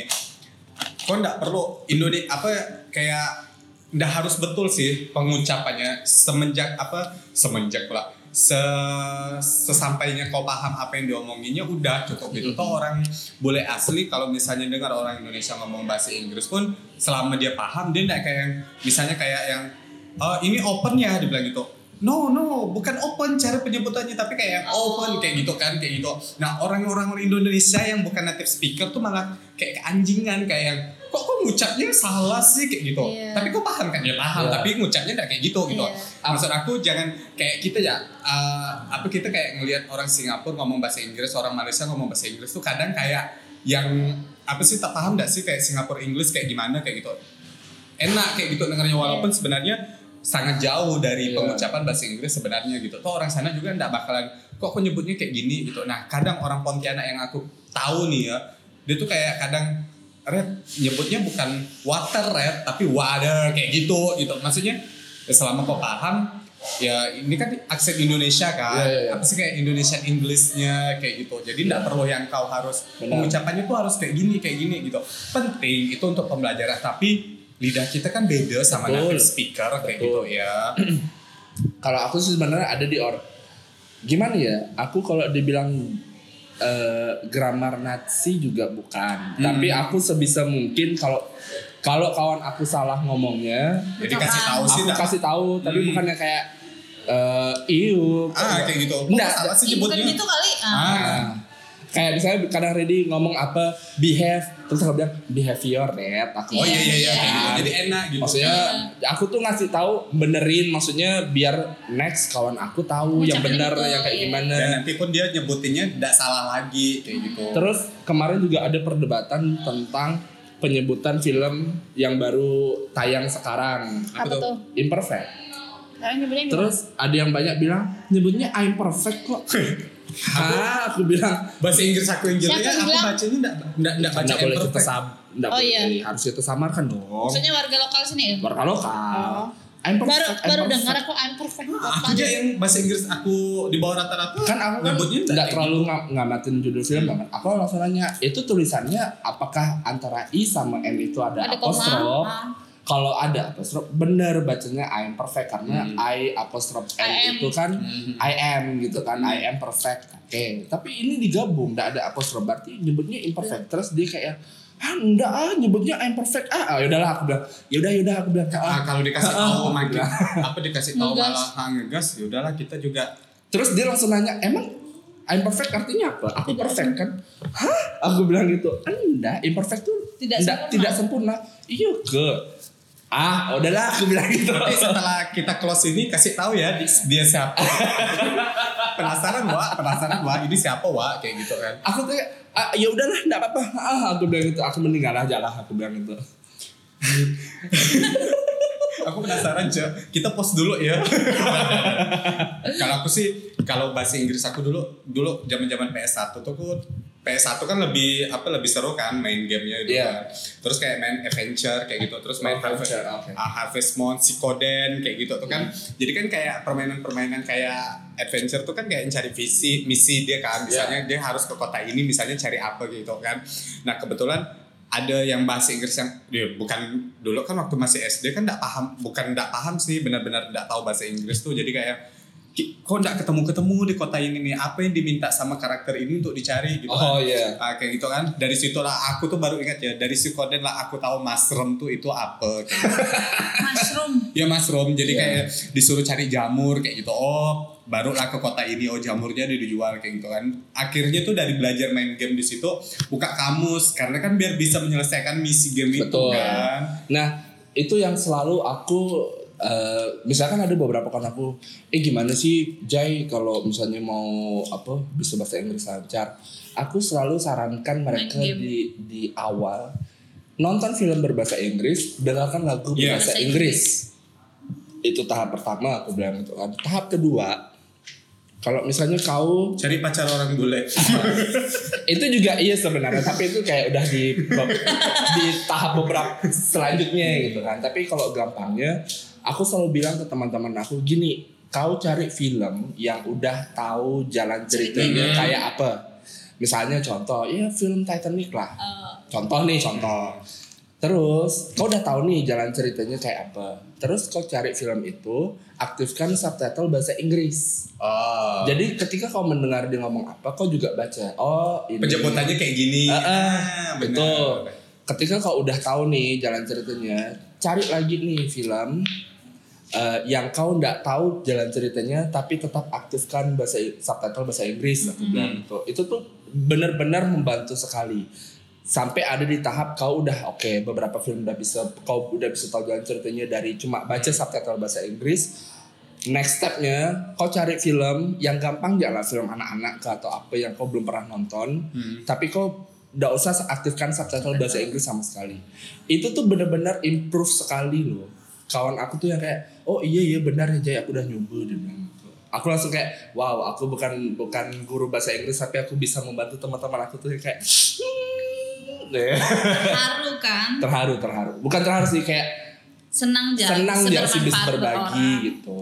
[SPEAKER 1] kok nggak perlu Indonesia apa kayak nggak harus betul sih pengucapannya semenjak apa semenjak pula se sesampainya kau paham apa yang diomonginnya udah cukup gitu toh orang boleh asli kalau misalnya dengar orang Indonesia ngomong bahasa Inggris pun selama dia paham dia nggak kayak yang misalnya kayak yang "Eh, ini open ya dibilang gitu no no bukan open cara penyebutannya tapi kayak yang open kayak gitu kan kayak gitu nah orang-orang Indonesia yang bukan native speaker tuh malah kayak keanjingan kayak yang kok kok ngucapnya salah sih kayak gitu
[SPEAKER 2] Iya.
[SPEAKER 1] tapi kok paham kan ya paham
[SPEAKER 3] Iya.
[SPEAKER 1] tapi ngucapnya nggak kayak gitu gitu
[SPEAKER 2] Iya.
[SPEAKER 1] maksud aku jangan kayak kita ya eh, apa kita kayak ngelihat orang Singapura ngomong bahasa Inggris orang Malaysia ngomong bahasa Inggris tuh kadang kayak yang apa sih tak paham nggak sih kayak Singapura Inggris kayak gimana kayak gitu enak kayak gitu dengarnya walaupun
[SPEAKER 2] Iya.
[SPEAKER 1] sebenarnya sangat jauh dari
[SPEAKER 3] Iya.
[SPEAKER 1] pengucapan bahasa Inggris sebenarnya gitu. Tuh orang sana juga nggak bakalan kok aku nyebutnya kayak gini gitu. Nah kadang orang Pontianak yang aku tahu nih ya, dia tuh kayak kadang red nyebutnya bukan water red tapi water kayak gitu gitu. Maksudnya ya selama kau paham ya ini kan aksen Indonesia kan
[SPEAKER 3] Iya, iya, iya.
[SPEAKER 1] apa sih kayak Indonesian Englishnya kayak gitu jadi nggak perlu yang kau harus
[SPEAKER 3] Benar.
[SPEAKER 1] pengucapannya tuh harus kayak gini kayak gini gitu penting itu untuk pembelajaran tapi lidah kita kan beda sama
[SPEAKER 3] Betul.
[SPEAKER 1] native speaker kayak gitu
[SPEAKER 3] Betul.
[SPEAKER 1] ya
[SPEAKER 3] kalau aku sih sebenarnya ada di or gimana ya aku kalau dibilang eh, grammar Nazi juga bukan
[SPEAKER 1] Hmm.
[SPEAKER 3] tapi aku sebisa mungkin kalau kalau kawan aku salah ngomongnya
[SPEAKER 1] jadi kasih tahu sih
[SPEAKER 3] aku
[SPEAKER 1] tak
[SPEAKER 3] kasih tahu tapi
[SPEAKER 1] Hmm.
[SPEAKER 3] bukannya kayak eh iu
[SPEAKER 1] ah kayak
[SPEAKER 3] Iya.
[SPEAKER 1] gitu kok
[SPEAKER 3] Nggak,
[SPEAKER 1] salah sih
[SPEAKER 2] Ih, bukan
[SPEAKER 1] nyebutnya
[SPEAKER 2] gitu kali ah.
[SPEAKER 3] Iya.
[SPEAKER 1] ah
[SPEAKER 3] Nah, kayak misalnya kadang ready ngomong apa behave terus aku bilang behavior red aku
[SPEAKER 1] oh iya iya iya
[SPEAKER 2] Iya.
[SPEAKER 1] kayak gitu jadi enak gitu
[SPEAKER 3] maksudnya aku tuh ngasih tahu benerin maksudnya biar next kawan aku tahu yang
[SPEAKER 2] Ngucapin
[SPEAKER 3] bener
[SPEAKER 2] betul,
[SPEAKER 3] yang kayak
[SPEAKER 2] iya.
[SPEAKER 3] gimana
[SPEAKER 1] dan nanti pun dia nyebutinnya nggak salah lagi kayak gitu
[SPEAKER 3] terus kemarin juga ada perdebatan tentang penyebutan film yang baru tayang sekarang
[SPEAKER 1] Apa
[SPEAKER 2] apa
[SPEAKER 1] tuh?
[SPEAKER 2] tuh Iya.
[SPEAKER 3] imperfect
[SPEAKER 2] Kalian nyebutnya gimana?
[SPEAKER 3] terus ada yang banyak bilang nyebutnya I'm perfect kok Hah, aku bilang
[SPEAKER 1] bahasa Inggris aku yang jelek
[SPEAKER 2] Siapa
[SPEAKER 1] aku
[SPEAKER 2] bilang?
[SPEAKER 1] bacanya enggak enggak enggak baca
[SPEAKER 3] nggak boleh kita
[SPEAKER 1] imperfect. Oh.
[SPEAKER 3] sam, nggak
[SPEAKER 2] Oh,
[SPEAKER 3] boleh
[SPEAKER 2] iya.
[SPEAKER 3] harus kita samarkan dong.
[SPEAKER 2] Maksudnya warga lokal sini ya?
[SPEAKER 3] Baru kalau lokal.
[SPEAKER 2] Oh.
[SPEAKER 3] I'm
[SPEAKER 2] Baru
[SPEAKER 3] perfect, I'm
[SPEAKER 2] baru
[SPEAKER 3] perfect.
[SPEAKER 2] dengar aku I'm perfect.
[SPEAKER 1] Nah, aku
[SPEAKER 2] Apa? gitu.
[SPEAKER 1] aja yang bahasa Inggris aku di bawah rata-rata.
[SPEAKER 3] kan aku kan
[SPEAKER 1] nyebutnya gitu.
[SPEAKER 3] nggak terlalu ng- ngamatin judul film
[SPEAKER 1] Hmm.
[SPEAKER 3] kan aku langsung nanya itu tulisannya apakah antara i sama m itu ada,
[SPEAKER 2] Ada koma.
[SPEAKER 3] apostrof
[SPEAKER 2] Ah.
[SPEAKER 3] kalau ada apostrof bener bacanya i am perfect karena
[SPEAKER 1] Hmm.
[SPEAKER 3] i apostrof
[SPEAKER 2] I
[SPEAKER 3] m
[SPEAKER 2] am.
[SPEAKER 3] itu kan
[SPEAKER 1] Hmm.
[SPEAKER 3] i am gitu kan i am perfect oke tapi ini digabung nggak ada apostrof berarti nyebutnya imperfect terus dia kayak ah enggak ah nyebutnya I am perfect ah ah, yaudahlah aku bilang yaudah yaudah aku bilang ah.
[SPEAKER 1] Ah, kalau dikasih tahu makin
[SPEAKER 3] Enggak.
[SPEAKER 1] apa dikasih tahu
[SPEAKER 2] Ngegas.
[SPEAKER 1] malah ah, ngegas ya udahlah kita juga
[SPEAKER 3] Terus dia langsung nanya, emang imperfect artinya apa? Aku perfect kan? Hah? Aku bilang gitu. Anda imperfect tuh
[SPEAKER 2] Tidak
[SPEAKER 3] nggak-
[SPEAKER 2] sempurna."
[SPEAKER 3] tidak sempurna. Iya ke. Ah, udahlah aku bilang gitu.
[SPEAKER 1] tapi setelah kita close ini kasih tahu ya di- dia siapa penasaran wa penasaran wa ini siapa wa kayak gitu kan
[SPEAKER 3] aku kayak "Ah, ya udahlah enggak apa-apa. Ah, aku bilang gitu. Aku mending ngalah aja lah aku bilang gitu.
[SPEAKER 1] aku penasaran cok kita post dulu ya kalau aku sih kalau bahasa Inggris aku dulu dulu zaman zaman PS1 tuh aku PS1 kan lebih apa lebih seru kan main gamenya gitu
[SPEAKER 3] Iya.
[SPEAKER 1] kan. Terus kayak main adventure kayak gitu, terus main
[SPEAKER 3] Oh, adventure, oke.
[SPEAKER 1] Harvest, ah, Harvest Moon, Sikoden kayak gitu tuh kan.
[SPEAKER 3] Iya.
[SPEAKER 1] Jadi kan kayak permainan-permainan kayak adventure tuh kan kayak cari visi, misi dia
[SPEAKER 3] Iya.
[SPEAKER 1] kan. Misalnya dia harus ke kota ini misalnya cari apa gitu kan. Nah, kebetulan ada yang bahasa Inggris yang ya, bukan dulu kan waktu masih SD kan nggak paham bukan nggak paham sih benar-benar nggak tahu bahasa Inggris tuh jadi kayak "Ki, kok nggak ketemu-ketemu di kota ini nih apa yang diminta sama karakter ini untuk dicari gitu kan.
[SPEAKER 3] Oh iya.
[SPEAKER 1] Ah, kayak gitu kan dari situ lah aku tuh baru ingat ya dari psikoden lah aku tahu mushroom tuh itu apa kayak gitu.
[SPEAKER 2] Mushroom.
[SPEAKER 1] ya mushroom jadi
[SPEAKER 3] Iya.
[SPEAKER 1] kayak disuruh cari jamur kayak gitu oh barulah ke kota ini oh jamurnya dia dijual kayak gitu kan akhirnya tuh dari belajar main game di situ buka kamus karena kan biar bisa menyelesaikan misi game itu
[SPEAKER 3] Betul.
[SPEAKER 1] kan
[SPEAKER 3] Nah, itu yang selalu aku eh, misalkan ada beberapa kawan aku, eh gimana sih Jai kalau misalnya mau apa bisa bahasa Inggris lancar? Aku selalu sarankan mereka
[SPEAKER 2] Main game.
[SPEAKER 3] di di awal nonton film berbahasa Inggris, dengarkan lagu
[SPEAKER 1] Iya.
[SPEAKER 2] Bahasa
[SPEAKER 3] berbahasa Inggris. Itu tahap pertama aku bilang itu kan. Tahap kedua, kalau misalnya kau
[SPEAKER 1] cari pacar orang bule
[SPEAKER 3] itu juga iya sebenarnya tapi itu kayak udah di di tahap beberapa selanjutnya gitu kan tapi kalau gampangnya aku selalu bilang ke teman-teman aku gini kau cari film yang udah tahu jalan ceritanya
[SPEAKER 1] Ceritanya.
[SPEAKER 3] kayak apa misalnya contoh ya film Titanic lah
[SPEAKER 2] Eh,
[SPEAKER 3] contoh nih contoh terus kau udah tahu nih jalan ceritanya kayak apa terus kau cari film itu aktifkan subtitle bahasa Inggris
[SPEAKER 1] oh
[SPEAKER 3] jadi ketika kau mendengar dia ngomong apa kau juga baca oh ini
[SPEAKER 1] penjemputannya kayak gini
[SPEAKER 3] Ah, ah,
[SPEAKER 1] benar.
[SPEAKER 3] betul. ketika kau udah tahu nih jalan ceritanya, cari lagi nih film eh, yang kau nggak tahu jalan ceritanya, tapi tetap aktifkan bahasa subtitle bahasa Inggris. Aku bilang gitu. Itu tuh benar-benar membantu sekali. Sampai ada di tahap kau udah oke beberapa film udah bisa kau udah bisa tahu jalan ceritanya dari cuma baca subtitle bahasa Inggris. Next stepnya kau cari film yang gampang jangan film anak-anak atau apa yang kau belum pernah nonton
[SPEAKER 1] Hmm.
[SPEAKER 3] tapi kok nggak usah aktifkan subtitle bahasa Inggris sama sekali itu tuh bener-bener improve sekali loh kawan aku tuh yang kayak oh iya iya benar ya Jay aku udah nyoba dia bilang gitu. aku langsung kayak wow aku bukan bukan guru bahasa Inggris tapi aku bisa membantu teman-teman aku tuh yang kayak "Hmm." Ya.
[SPEAKER 2] haru kan?
[SPEAKER 3] terharu terharu bukan terharu sih kayak
[SPEAKER 2] Ya, Senang ja-
[SPEAKER 3] senang dia sih
[SPEAKER 2] sebermanfaat
[SPEAKER 3] bisa
[SPEAKER 2] buat
[SPEAKER 3] berbagi
[SPEAKER 2] orang.
[SPEAKER 3] gitu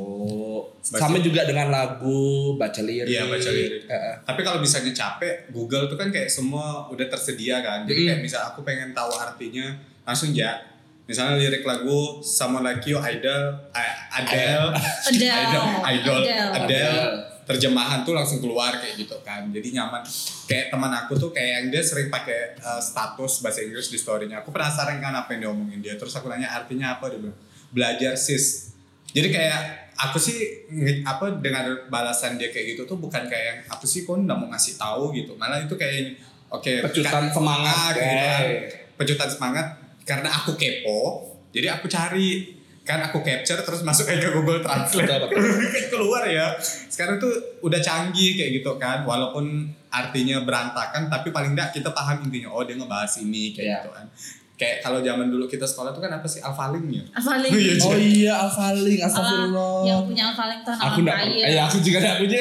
[SPEAKER 3] sama juga dengan lagu baca lirik
[SPEAKER 1] Iya baca lirik.
[SPEAKER 3] Eh, eh.
[SPEAKER 1] Tapi kalau misalnya capek, Google tuh kan kayak semua udah tersedia kan. Jadi
[SPEAKER 3] Mm.
[SPEAKER 1] kayak misal aku pengen tahu artinya langsung ya. Misalnya lirik lagu sama like you idol, eh, Adele,
[SPEAKER 2] Adele.
[SPEAKER 1] idol, idol,
[SPEAKER 2] Adele.
[SPEAKER 1] Adele, terjemahan tuh langsung keluar kayak gitu kan. Jadi nyaman. Kayak teman aku tuh kayak yang dia sering pakai eh, status bahasa Inggris di story-nya. Aku penasaran kan apa yang dia omongin dia. Terus aku nanya artinya apa dia bilang belajar sis. Jadi kayak aku sih nge- apa dengar balasan dia kayak gitu tuh bukan kayak yang apa sih kok nggak mau ngasih tahu gitu. Malah itu kayak oke
[SPEAKER 3] Pecutan
[SPEAKER 1] ka- ah,
[SPEAKER 3] semangat,
[SPEAKER 1] kayak gitu kan.
[SPEAKER 3] eh.
[SPEAKER 1] Pecutan semangat karena aku kepo. Jadi aku cari kan aku capture terus masukin ke Google Translate
[SPEAKER 3] Betul, betul.
[SPEAKER 1] keluar ya sekarang tuh udah canggih kayak gitu kan walaupun artinya berantakan tapi paling enggak kita paham intinya oh dia ngebahas ini kayak
[SPEAKER 3] Iya.
[SPEAKER 1] gitu kan kayak kalau zaman dulu kita sekolah tuh kan apa sih alfalingnya
[SPEAKER 2] Alfaling.
[SPEAKER 1] Iya,
[SPEAKER 3] Oh iya,
[SPEAKER 2] Alah, Ah,
[SPEAKER 3] Alfaling,
[SPEAKER 2] yang
[SPEAKER 3] astagfirullah.
[SPEAKER 2] punya Alfaling tuh anak
[SPEAKER 3] Aku
[SPEAKER 2] orang
[SPEAKER 3] enggak,
[SPEAKER 2] kaya.
[SPEAKER 3] eh aku juga enggak punya.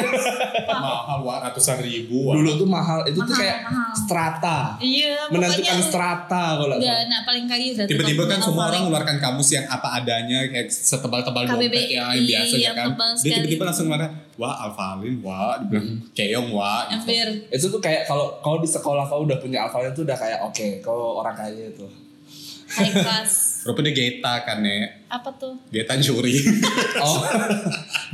[SPEAKER 1] mahal wah ratusan ribu wah.
[SPEAKER 3] Dulu tuh mahal, itu tuh
[SPEAKER 2] Mahal,
[SPEAKER 3] kayak
[SPEAKER 2] mahal.
[SPEAKER 3] strata.
[SPEAKER 2] Iya,
[SPEAKER 3] Menentukan
[SPEAKER 2] pokoknya
[SPEAKER 3] strata kalau nggak
[SPEAKER 2] udah
[SPEAKER 3] salah.
[SPEAKER 2] anak paling kaya udah
[SPEAKER 1] tiba-tiba
[SPEAKER 2] tukang
[SPEAKER 1] kan semua
[SPEAKER 2] Alfaling.
[SPEAKER 1] orang mengeluarkan kamus yang apa adanya kayak setebal-tebal dompet
[SPEAKER 2] KBBI,
[SPEAKER 1] ya yang biasa
[SPEAKER 2] iya,
[SPEAKER 1] ya kan
[SPEAKER 2] tebal
[SPEAKER 1] dia
[SPEAKER 2] sekali.
[SPEAKER 1] tiba-tiba langsung ngeluarin wah alfalin wah dibilang keong wah gitu.
[SPEAKER 2] Hampir.
[SPEAKER 3] Itu tuh kayak kalau kalau di sekolah kau udah punya Alfaling tuh udah kayak oke, kau orang kaya itu.
[SPEAKER 2] High class.
[SPEAKER 1] rupanya geta kan ya
[SPEAKER 2] Apa tuh?
[SPEAKER 1] geta juri
[SPEAKER 3] Oh.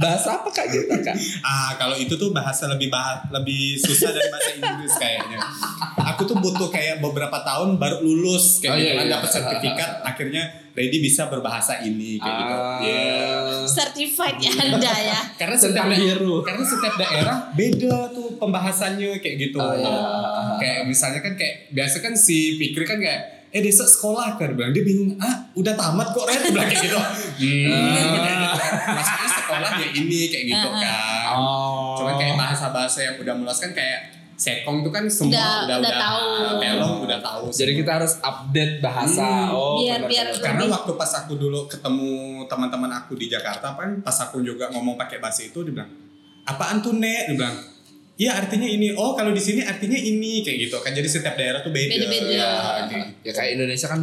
[SPEAKER 3] Bahasa apa Kak Gita, Kak?
[SPEAKER 1] ah kalau itu tuh bahasa lebih bah lebih susah dari bahasa Inggris kayaknya aku tuh butuh kayak beberapa tahun baru lulus kayak
[SPEAKER 3] Oh,
[SPEAKER 1] gitu
[SPEAKER 3] iya,
[SPEAKER 1] kan
[SPEAKER 3] iya.
[SPEAKER 1] dapat sertifikat akhirnya ready bisa berbahasa ini kayak gitu
[SPEAKER 3] Ah.
[SPEAKER 1] Iya.
[SPEAKER 2] Certified ya Anda ya.
[SPEAKER 1] karena setiap
[SPEAKER 3] Centang biru.
[SPEAKER 1] karena setiap daerah beda tuh pembahasannya kayak gitu
[SPEAKER 3] Oh, iya.
[SPEAKER 1] kayak misalnya kan kayak biasa kan si Fikri kan kayak eh desa sekolah kan Dia bilang dia bingung ah udah tamat kok Ren Dia bilang kayak gitu hmm. maksudnya sekolah ya ini kayak gitu kan
[SPEAKER 3] Oh.
[SPEAKER 1] cuman kayak bahasa-bahasa yang udah mulas kan kayak sekong tuh kan semua
[SPEAKER 2] Udah-
[SPEAKER 1] udah udah,
[SPEAKER 2] udah tahu.
[SPEAKER 1] pelong udah tahu
[SPEAKER 3] Jadi
[SPEAKER 1] semua.
[SPEAKER 3] kita harus update bahasa.
[SPEAKER 1] Hmm.
[SPEAKER 3] Oh,
[SPEAKER 2] Biar- biar
[SPEAKER 3] benar-benar.
[SPEAKER 1] karena
[SPEAKER 2] lebih-
[SPEAKER 1] waktu pas aku dulu ketemu teman-teman aku di Jakarta kan pas aku juga ngomong pakai bahasa itu dibilang apaan tuh nek dibilang iya artinya ini oh kalau di sini artinya ini kayak gitu kan jadi setiap daerah tuh beda
[SPEAKER 2] Beda-beda.
[SPEAKER 1] Ya,
[SPEAKER 3] ya,
[SPEAKER 1] kayak gitu.
[SPEAKER 3] kayak Indonesia kan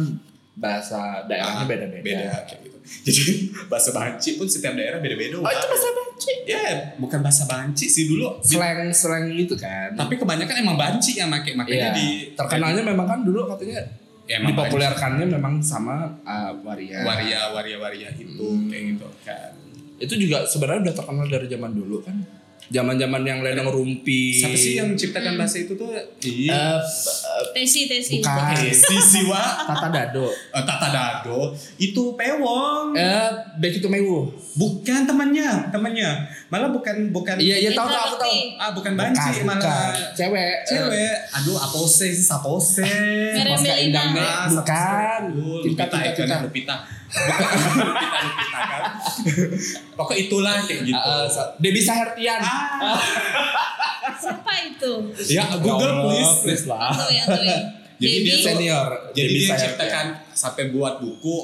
[SPEAKER 3] bahasa daerahnya
[SPEAKER 1] Ah,
[SPEAKER 3] beda-beda.
[SPEAKER 1] beda kayak gitu jadi bahasa banci pun setiap daerah beda-beda
[SPEAKER 3] Oh, itu bahasa banci.
[SPEAKER 1] ya bukan bahasa banci sih dulu Di-
[SPEAKER 3] Slang-slang gitu kan.
[SPEAKER 1] tapi kebanyakan emang banci yang make makanya
[SPEAKER 3] Iya.
[SPEAKER 1] di
[SPEAKER 3] terkenalnya memang kan dulu katanya
[SPEAKER 1] ya, emang banci.
[SPEAKER 3] dipopulerkannya memang sama uh, waria.
[SPEAKER 1] waria waria waria itu kayak gitu kan
[SPEAKER 3] Itu juga sebenarnya udah terkenal dari zaman dulu kan. Zaman-zaman yang lenong rumpi.
[SPEAKER 1] siapa sih yang menciptakan bahasa itu tuh
[SPEAKER 3] Eh,
[SPEAKER 1] iya
[SPEAKER 3] eh,
[SPEAKER 2] Tesi, tesi.
[SPEAKER 3] bukan
[SPEAKER 1] Eh, si siwa
[SPEAKER 3] Tata Dado.
[SPEAKER 1] eh, Tata Dado itu pewong
[SPEAKER 3] Eh, Becky Tumewu.
[SPEAKER 1] bukan temannya temannya malah bukan bukan
[SPEAKER 3] Iya, iya tahu
[SPEAKER 2] Itu
[SPEAKER 3] tahu aku tahu.
[SPEAKER 2] Bakti.
[SPEAKER 1] ah bukan
[SPEAKER 3] Bukan,
[SPEAKER 1] banci
[SPEAKER 3] bukan.
[SPEAKER 1] malah
[SPEAKER 3] Cewek. eh,
[SPEAKER 1] cewek aduh apose sih sapose
[SPEAKER 2] Mere-
[SPEAKER 3] Oscar
[SPEAKER 2] Melina.
[SPEAKER 3] Indangnya.
[SPEAKER 1] Ah,
[SPEAKER 3] Bukan.
[SPEAKER 1] Sapose.
[SPEAKER 3] Cinta,
[SPEAKER 1] Lupita
[SPEAKER 3] cinta,
[SPEAKER 1] Icon,
[SPEAKER 3] cinta.
[SPEAKER 1] Lupita bukan Lupita Lupita kan pokok itulah kayak gitu
[SPEAKER 3] Eh, eh, Debbie Sahertian.
[SPEAKER 1] Ah.
[SPEAKER 2] Siapa itu?
[SPEAKER 1] ya
[SPEAKER 3] Ya
[SPEAKER 1] Google
[SPEAKER 3] Allah,
[SPEAKER 1] please
[SPEAKER 3] please lah.
[SPEAKER 2] Tuh yang tuh. ya.
[SPEAKER 1] Jadi dia
[SPEAKER 2] Debbie.
[SPEAKER 3] Senior.
[SPEAKER 1] jadi
[SPEAKER 3] Debbie
[SPEAKER 1] dia
[SPEAKER 3] Sahertian.
[SPEAKER 1] ciptakan sampai buat buku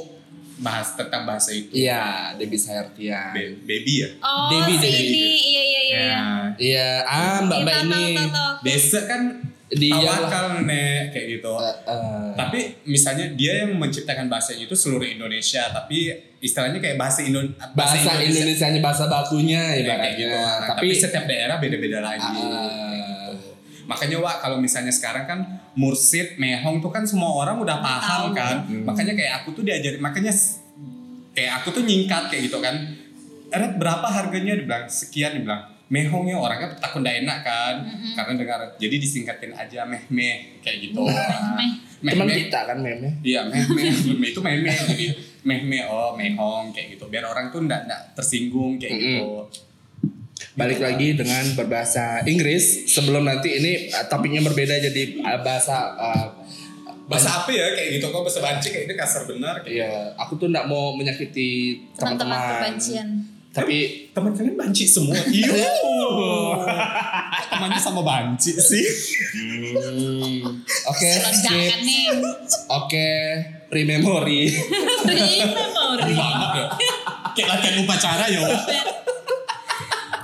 [SPEAKER 1] bahas tentang bahasa itu
[SPEAKER 3] Iya, Debbie Sahertian.
[SPEAKER 1] Ba- baby ya
[SPEAKER 2] Oh,
[SPEAKER 3] Debbie,
[SPEAKER 2] si
[SPEAKER 3] Debbie.
[SPEAKER 2] ini. Iya, iya, iya. iya.
[SPEAKER 3] Iya, ah Mbak Mbak
[SPEAKER 2] Iya, tahu,
[SPEAKER 3] ini.
[SPEAKER 2] tahu, tahu, tahu.
[SPEAKER 1] desa kan
[SPEAKER 3] Dia lah.
[SPEAKER 1] tawakal nek kayak gitu
[SPEAKER 3] Eh, eh.
[SPEAKER 1] tapi misalnya dia yang menciptakan bahasanya itu seluruh Indonesia tapi istilahnya kayak bahasa Indo
[SPEAKER 3] bahasa Indonesianya bahasa bakunya
[SPEAKER 1] kayak
[SPEAKER 3] ibaratnya.
[SPEAKER 1] gitu Nah,
[SPEAKER 3] tapi,
[SPEAKER 1] tapi, Iya, gitu. setiap daerah beda-beda lagi
[SPEAKER 3] Ah.
[SPEAKER 1] makanya Wak kalau misalnya sekarang kan mursid mehong tuh kan semua orang udah paham
[SPEAKER 2] Tahu.
[SPEAKER 1] kan
[SPEAKER 3] Hmm.
[SPEAKER 1] makanya kayak aku tuh diajarin makanya s- kayak aku tuh nyingkat kayak gitu kan Red berapa harganya dibilang sekian dibilang mehongnya ya orangnya takut ndak enak kan karena dengar jadi disingkatin aja meh meh kayak gitu
[SPEAKER 2] Meh.
[SPEAKER 1] meh
[SPEAKER 3] teman
[SPEAKER 1] meh
[SPEAKER 3] kita kan meme.
[SPEAKER 1] Iya, meh meh meh itu meh meh jadi meh meh oh mehong kayak gitu biar orang tuh ndak ndak tersinggung kayak
[SPEAKER 3] Mm-mm.
[SPEAKER 1] gitu. Iya.
[SPEAKER 3] Balik lagi dengan berbahasa Inggris sebelum nanti ini eh, topiknya berbeda jadi eh, bahasa eh,
[SPEAKER 1] Bahasa apa ya kayak gitu kok bahasa banci kayak ini kasar benar kayak.
[SPEAKER 3] Iya, aku tuh nggak mau menyakiti
[SPEAKER 2] Teman-teman
[SPEAKER 3] teman-teman.
[SPEAKER 2] kebencian.
[SPEAKER 3] Tapi
[SPEAKER 1] Eh, Teman kalian banci semua. Iya. Kok Temannya sama banci sih.
[SPEAKER 3] hmm, oke, skip.
[SPEAKER 2] Ledakan nih.
[SPEAKER 3] Oke, rememory.
[SPEAKER 2] Memory.
[SPEAKER 1] Banget ya. Kayak latihan upacara ya. yo.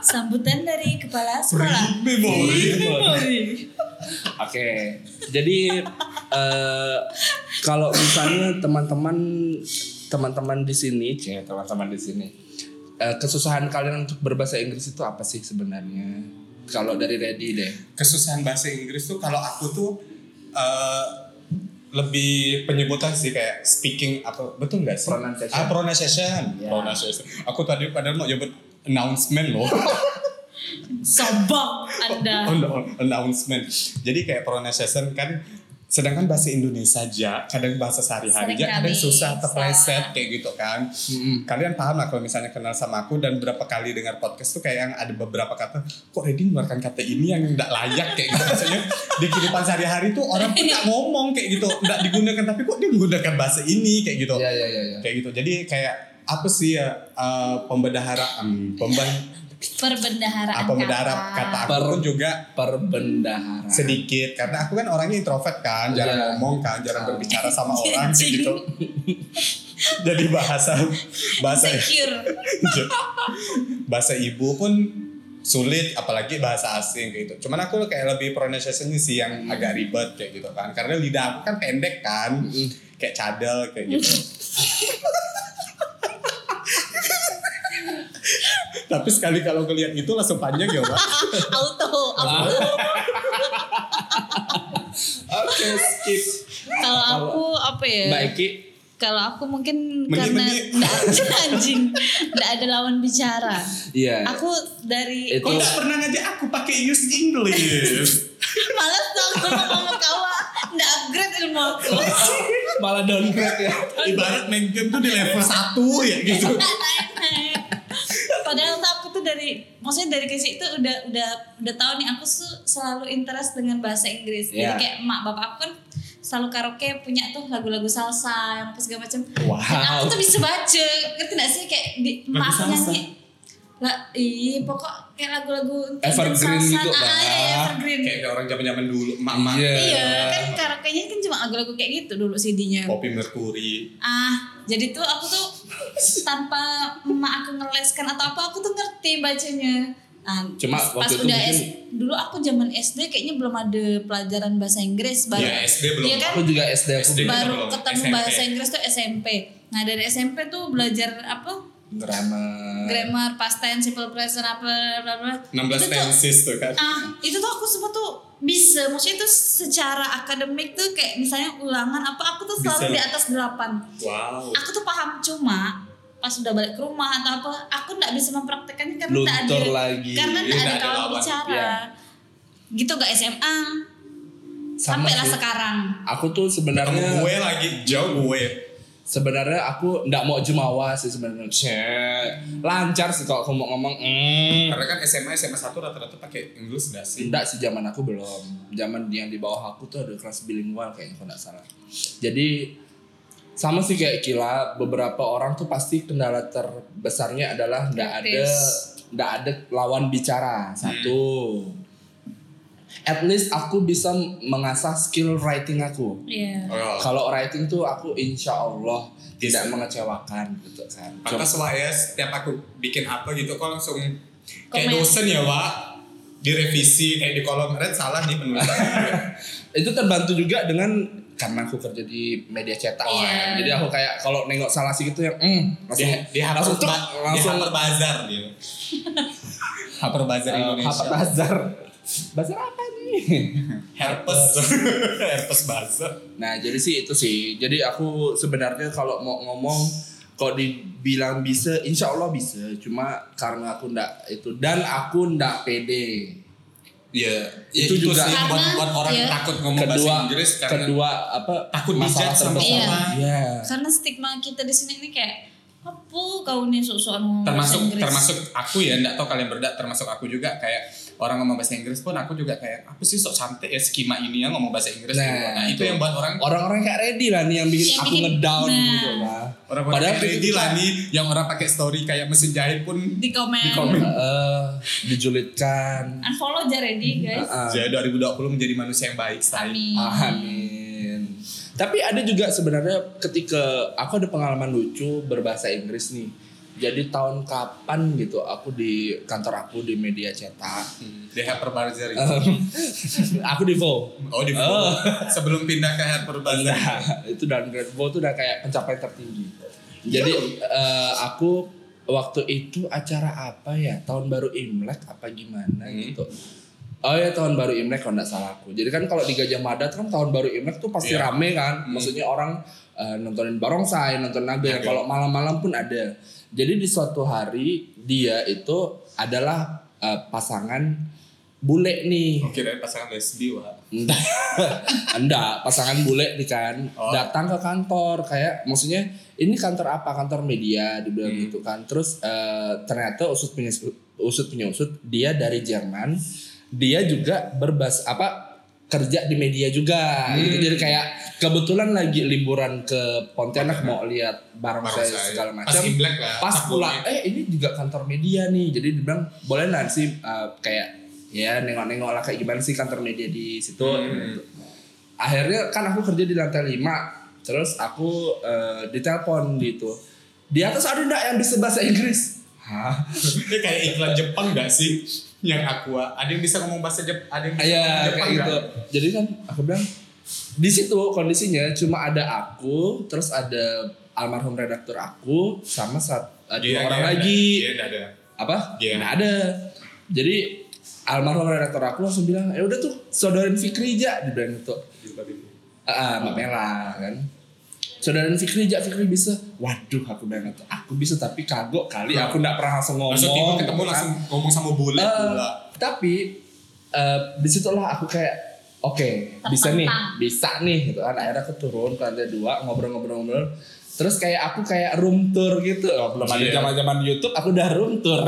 [SPEAKER 2] Sambutan dari kepala sekolah.
[SPEAKER 1] Memori.
[SPEAKER 2] Memory.
[SPEAKER 3] Oke, jadi eh, kalau misalnya teman-teman teman-teman di sini, ya teman-teman di sini, eh, kesusahan kalian untuk berbahasa Inggris itu apa sih sebenarnya? Kalau dari Reddy deh,
[SPEAKER 1] Kesusahan bahasa Inggris tuh kalau aku tuh eh, lebih penyebutan sih kayak speaking apa betul nggak sih?
[SPEAKER 3] Pronunciation.
[SPEAKER 1] Ah pronunciation.
[SPEAKER 3] Ya.
[SPEAKER 1] Pronunciation. Aku tadi padahal mau nyebut announcement loh.
[SPEAKER 2] Sombong Anda.
[SPEAKER 1] An- announcement. Jadi kayak pronunciation kan sedangkan bahasa Indonesia aja kadang bahasa sehari-hari aja kadang
[SPEAKER 2] Seringkali
[SPEAKER 1] susah
[SPEAKER 2] susah.
[SPEAKER 1] terpleset kayak gitu kan kalian paham lah kalau misalnya kenal sama aku dan berapa kali dengar podcast tuh kayak yang ada beberapa kata kok Reddy mengeluarkan kata ini yang nggak layak kayak gitu maksudnya di kehidupan sehari-hari tuh orang tuh nggak ngomong kayak gitu nggak digunakan tapi kok dia menggunakan bahasa ini kayak gitu
[SPEAKER 3] ya ya ya ya.
[SPEAKER 1] kayak gitu jadi kayak apa sih ya eh, pembedaharaan pemben
[SPEAKER 2] perbendaharaan
[SPEAKER 1] apa mendara kata aku
[SPEAKER 3] Per-
[SPEAKER 1] pun juga
[SPEAKER 3] perbendaharaan
[SPEAKER 1] Nah. sedikit karena aku kan orangnya introvert kan jarang
[SPEAKER 3] Iya.
[SPEAKER 1] ngomong kan jarang
[SPEAKER 3] Ah.
[SPEAKER 1] berbicara sama orang kayak gitu jadi bahasa bahasa
[SPEAKER 2] secure
[SPEAKER 1] bahasa ibu pun sulit apalagi bahasa asing kayak gitu cuman aku kayak lebih pronunciation sih yang agak ribet kayak gitu kan karena lidah aku kan pendek kan
[SPEAKER 3] Mm-mm.
[SPEAKER 1] kayak cadel kayak gitu tapi sekali kalau ngeliat itu langsung panjang ya pak
[SPEAKER 2] Ah, auto auto
[SPEAKER 3] oke skip
[SPEAKER 2] kalau aku apa ya
[SPEAKER 3] mbak Eki
[SPEAKER 2] kalau aku mungkin
[SPEAKER 1] Menyi-
[SPEAKER 2] karena
[SPEAKER 1] menyi.
[SPEAKER 2] nggak ada anjing nggak ada lawan bicara
[SPEAKER 3] iya
[SPEAKER 2] aku dari
[SPEAKER 3] Itu-
[SPEAKER 1] kok nggak pernah ngajak aku pakai use English
[SPEAKER 2] malas dong sama ngomong kawa nggak upgrade ilmu aku
[SPEAKER 3] malah downgrade ya
[SPEAKER 2] Iya.
[SPEAKER 1] ibarat main game tuh di level 1 ya gitu
[SPEAKER 2] Naik-naik. padahal tuh aku tuh dari maksudnya dari kecil itu udah udah udah tahu nih aku tuh selalu interest dengan bahasa Inggris jadi
[SPEAKER 3] Iya.
[SPEAKER 2] kayak emak bapak aku kan selalu karaoke punya tuh lagu-lagu salsa yang apa segala macam Dan
[SPEAKER 3] Wow.
[SPEAKER 2] aku tuh bisa baca ngerti gak sih kayak di
[SPEAKER 1] Lagu
[SPEAKER 2] emak
[SPEAKER 1] salsa.
[SPEAKER 2] nyanyi lah iya pokok kayak lagu-lagu
[SPEAKER 3] Evergreen gitu,
[SPEAKER 2] ah, ah, iya,
[SPEAKER 3] Bang.
[SPEAKER 2] evergreen
[SPEAKER 1] kayak orang zaman-zaman dulu mak-mak
[SPEAKER 3] Iya.
[SPEAKER 2] iya kan karaoke-nya kan cuma lagu-lagu kayak gitu dulu CD-nya
[SPEAKER 1] Kopi Mercury
[SPEAKER 2] ah jadi tuh aku tuh tanpa emak aku ngeleskan atau apa aku tuh ngerti bacanya Nah,
[SPEAKER 3] Cuma
[SPEAKER 2] pas, pas
[SPEAKER 3] waktu itu
[SPEAKER 2] udah
[SPEAKER 3] mungkin-
[SPEAKER 2] S, dulu aku zaman SD kayaknya belum ada pelajaran bahasa Inggris baru
[SPEAKER 1] ya SD belum
[SPEAKER 2] Iya kan?
[SPEAKER 3] aku juga SD aku
[SPEAKER 1] SD.
[SPEAKER 3] juga.
[SPEAKER 2] baru
[SPEAKER 1] belum
[SPEAKER 2] ketemu
[SPEAKER 1] SMP.
[SPEAKER 2] bahasa Inggris tuh SMP nah dari SMP tuh belajar apa
[SPEAKER 3] Ah. grammar
[SPEAKER 2] grammar past tense simple present apa bla bla
[SPEAKER 1] 16 tenses tuh kan
[SPEAKER 2] ah itu tuh aku semua tuh bisa maksudnya itu secara akademik tuh kayak misalnya ulangan apa aku tuh selalu
[SPEAKER 1] Bisa.
[SPEAKER 2] di atas delapan
[SPEAKER 1] wow
[SPEAKER 2] aku tuh paham cuma pas udah balik ke rumah atau apa aku nggak bisa mempraktekannya karena nggak ada
[SPEAKER 3] luntur lagi
[SPEAKER 2] karena nggak ada
[SPEAKER 1] nggak ada
[SPEAKER 2] kawan
[SPEAKER 1] lawan,
[SPEAKER 2] bicara
[SPEAKER 3] iya.
[SPEAKER 2] gitu gak SMA
[SPEAKER 3] Sama
[SPEAKER 2] sampailah
[SPEAKER 3] sih.
[SPEAKER 2] sekarang
[SPEAKER 3] aku tuh
[SPEAKER 1] Kamu
[SPEAKER 3] sebenarnya
[SPEAKER 1] gue lagi jauh gue
[SPEAKER 3] sebenarnya aku nggak mau jumawa sih sebenarnya Cek. lancar sih kalau kamu ngomong mm.
[SPEAKER 1] karena kan SMA SMA 1 rata-rata pakai Inggris gak sih
[SPEAKER 3] Enggak sih zaman aku belum. Zaman yang di bawah aku tuh ada kelas bilingual kayaknya kalau nggak salah. Jadi sama sih kayak Kila, beberapa orang tuh pasti kendala terbesarnya adalah nggak ada
[SPEAKER 2] Praktis.
[SPEAKER 3] nggak ada lawan bicara satu. At least aku bisa mengasah skill writing aku.
[SPEAKER 2] iya
[SPEAKER 1] oh,
[SPEAKER 3] Kalau writing tuh aku insya Allah tidak mengecewakan gitu kan. Cuma-
[SPEAKER 1] pantas Wak ya setiap aku bikin apa gitu kok langsung kayak
[SPEAKER 2] Komen.
[SPEAKER 1] dosen ya Wak direvisi kayak di kolom red salah nih penulisannya
[SPEAKER 3] itu terbantu juga dengan karena aku kerja di media cetak
[SPEAKER 2] Iya.
[SPEAKER 3] kan. jadi aku kayak kalau nengok salah sih gitu yang mm, langsung
[SPEAKER 1] dia, dia harus
[SPEAKER 3] langsung tuh,
[SPEAKER 1] ba-
[SPEAKER 3] langsung
[SPEAKER 1] dia Harper bazar dia Harper bazar
[SPEAKER 3] eh,
[SPEAKER 1] Indonesia
[SPEAKER 3] apa bazar bazar apa nih
[SPEAKER 1] herpes herpes bazar
[SPEAKER 3] nah jadi sih itu sih jadi aku sebenarnya kalau mau ngomong kalau dibilang bisa insya Allah bisa cuma karena aku ndak itu dan aku ndak pede
[SPEAKER 1] Iya,
[SPEAKER 3] Itu juga-
[SPEAKER 1] sih buat,
[SPEAKER 2] Karena-
[SPEAKER 1] buat orang
[SPEAKER 2] iya.
[SPEAKER 1] takut ngomong bahasa
[SPEAKER 3] kedua
[SPEAKER 1] Inggris karena
[SPEAKER 3] kedua apa
[SPEAKER 1] takut
[SPEAKER 3] masalah
[SPEAKER 1] dijudge sama
[SPEAKER 3] terbesar
[SPEAKER 2] Iya.
[SPEAKER 1] orang.
[SPEAKER 3] Iya.
[SPEAKER 2] karena stigma kita di sini ini kayak apa kau nih sok-sokan ngomong
[SPEAKER 1] termasuk
[SPEAKER 2] bahasa Inggris
[SPEAKER 1] termasuk aku ya enggak tahu kalian berdak termasuk aku juga kayak orang ngomong bahasa Inggris pun aku juga kayak apa sih sok santai ya skema ini ya ngomong bahasa Inggris
[SPEAKER 3] Nah,
[SPEAKER 1] gitu. nah itu
[SPEAKER 3] itu.
[SPEAKER 1] yang buat orang
[SPEAKER 3] orang-orang kayak ready lah nih yang bikin
[SPEAKER 2] Yang
[SPEAKER 3] aku
[SPEAKER 2] bikin-
[SPEAKER 3] ngedown
[SPEAKER 2] nah.
[SPEAKER 3] gitu lah
[SPEAKER 1] orang
[SPEAKER 3] Padahal
[SPEAKER 1] padahal
[SPEAKER 3] itu
[SPEAKER 1] ready
[SPEAKER 3] kita-
[SPEAKER 1] lah nih yang orang pakai story kayak mesin jahit pun
[SPEAKER 2] di komen,
[SPEAKER 1] Di komen.
[SPEAKER 3] eh dijulitkan.
[SPEAKER 2] unfollow aja ready guys
[SPEAKER 3] Ah,
[SPEAKER 1] jadi 2020 menjadi manusia yang baik style
[SPEAKER 2] Amin.
[SPEAKER 3] Amin. Tapi ada juga sebenarnya ketika aku ada pengalaman lucu berbahasa Inggris nih. Jadi tahun kapan gitu aku di kantor aku di media cetak.
[SPEAKER 1] di Harper Bazaar
[SPEAKER 3] Eh,
[SPEAKER 1] itu.
[SPEAKER 3] aku di Vo.
[SPEAKER 1] oh di
[SPEAKER 3] Oh.
[SPEAKER 1] sebelum pindah ke Harper Bazaar
[SPEAKER 3] Nah, itu downgrade Vo itu udah kayak pencapaian tertinggi.
[SPEAKER 1] Iya.
[SPEAKER 3] Jadi eh, aku waktu itu acara apa ya? Tahun baru Imlek apa gimana
[SPEAKER 1] Hmm.
[SPEAKER 3] gitu. Oh ya tahun baru Imlek kalau nggak salah aku. Jadi kan kalau di Gajah Mada tuh kan tahun baru Imlek tuh pasti
[SPEAKER 1] Iya.
[SPEAKER 3] rame kan.
[SPEAKER 1] Hmm.
[SPEAKER 3] Maksudnya orang eh, nontonin barongsai, nonton naga.
[SPEAKER 1] Naga.
[SPEAKER 3] Kalau malam-malam pun ada. Jadi di suatu hari dia itu adalah eh, pasangan bule nih.
[SPEAKER 1] oke dari Oh, pasangan lesbi wah
[SPEAKER 3] Enggak. Enggak, pasangan bule nih kan
[SPEAKER 1] Oh.
[SPEAKER 3] datang ke kantor kayak maksudnya ini kantor apa? Kantor media dibilang
[SPEAKER 1] Hmm.
[SPEAKER 3] gitu kan. Terus eh, ternyata usut punya usut punya usut dia dari Jerman. Dia juga berbahasa apa? kerja di media juga
[SPEAKER 1] Hmm.
[SPEAKER 3] gitu. Jadi kayak kebetulan lagi liburan ke Pontianak mau lihat barang
[SPEAKER 1] Baru
[SPEAKER 3] saya
[SPEAKER 1] Hmm. saya-
[SPEAKER 3] segala
[SPEAKER 1] ya. Pas
[SPEAKER 3] macam.
[SPEAKER 1] Imlek lah.
[SPEAKER 3] Pas
[SPEAKER 1] pulang
[SPEAKER 3] pulang eh ini juga kantor media nih. Jadi dibilang boleh nggak sih eh, kayak ya nengok-nengok lah kayak gimana sih kantor media di situ.
[SPEAKER 1] Hmm.
[SPEAKER 3] Akhirnya kan aku kerja di lantai 5. Terus aku eh, ditelepon gitu. Di atas ada enggak yang bisa bahasa Inggris? Hah?
[SPEAKER 1] Ini kayak iklan Jepang gak sih? Yang aqua. Ada yang bisa ngomong bahasa Jepang, ada yang bisa ngomong
[SPEAKER 3] Iya
[SPEAKER 1] Jepang
[SPEAKER 3] kayak gitu.
[SPEAKER 1] nggak?
[SPEAKER 3] Jadi kan aku bilang di situ kondisinya cuma ada aku, terus ada almarhum redaktur aku sama satu
[SPEAKER 1] Iya,
[SPEAKER 3] orang
[SPEAKER 1] iya,
[SPEAKER 3] lagi
[SPEAKER 1] Iya, iya, ada.
[SPEAKER 3] apa?
[SPEAKER 1] Iya.
[SPEAKER 3] Nggak ada. Jadi almarhum redaktur aku langsung bilang, ya udah tuh saudarin Fikri aja dibilang gitu. itu. Ah, Mbak Mela kan. Saudarin Fikri aja, Fikri bisa. Waduh, aku bilang itu. Aku bisa tapi kagok kali. Aku nggak pernah langsung ngomong.
[SPEAKER 1] Iya. Langsung tiba ketemu
[SPEAKER 3] gitu kan.
[SPEAKER 1] langsung ngomong sama bule
[SPEAKER 3] Eh,
[SPEAKER 1] pula.
[SPEAKER 3] tapi eh, disitulah aku kayak oke bisa nih bisa nih gitu kan akhirnya aku turun ke lantai dua ngobrol-ngobrol-ngobrol terus kayak aku kayak room tour gitu oh, belum ada
[SPEAKER 1] Iya.
[SPEAKER 3] zaman-zaman YouTube aku udah room tour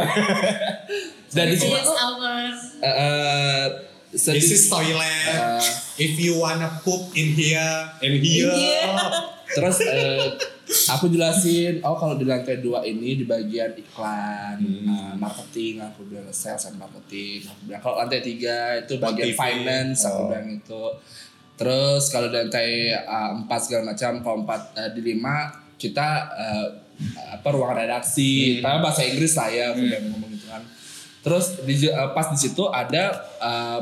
[SPEAKER 3] dan di situ
[SPEAKER 2] Serious hour.
[SPEAKER 3] eh, eh, sedih-
[SPEAKER 1] This is toilet.
[SPEAKER 3] eh,
[SPEAKER 1] If you wanna poop in here, in here.
[SPEAKER 2] Iya.
[SPEAKER 3] terus eh, aku jelasin oh kalau di lantai dua ini di bagian iklan
[SPEAKER 1] Hmm.
[SPEAKER 3] eh, marketing aku bilang sales and marketing aku bilang kalau lantai tiga itu bagian
[SPEAKER 1] Motivasi.
[SPEAKER 3] finance aku
[SPEAKER 1] Oh.
[SPEAKER 3] bilang itu terus kalau di lantai eh, empat segala macam kalau empat eh, di lima kita eh, apa ruang redaksi
[SPEAKER 1] Hmm.
[SPEAKER 3] Tapi bahasa Inggris lah ya aku
[SPEAKER 1] Hmm.
[SPEAKER 3] bilang ngomong gitu kan terus di, eh, pas di situ ada eh,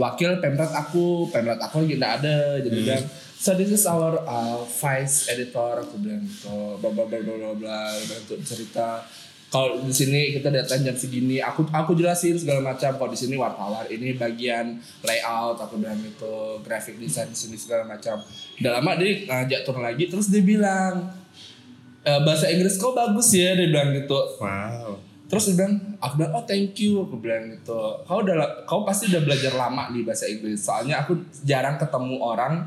[SPEAKER 3] wakil pemret aku pemret aku lagi nggak ada jadi
[SPEAKER 1] Hmm.
[SPEAKER 3] bilang so this is our uh, vice editor aku bilang gitu bla bla bla bla bla bla udah untuk cerita kalau di sini kita datang jam segini aku aku jelasin segala macam kalau di sini wartawan ini bagian layout aku bilang gitu graphic design di sini segala macam udah lama dia ngajak turun lagi terus dia bilang "E, bahasa Inggris kok bagus ya dia bilang gitu
[SPEAKER 1] Wow.
[SPEAKER 3] Terus dia bilang, aku bilang, oh thank you, aku bilang gitu. Kau udah, la- kau pasti udah belajar lama di bahasa Inggris. Soalnya aku jarang ketemu orang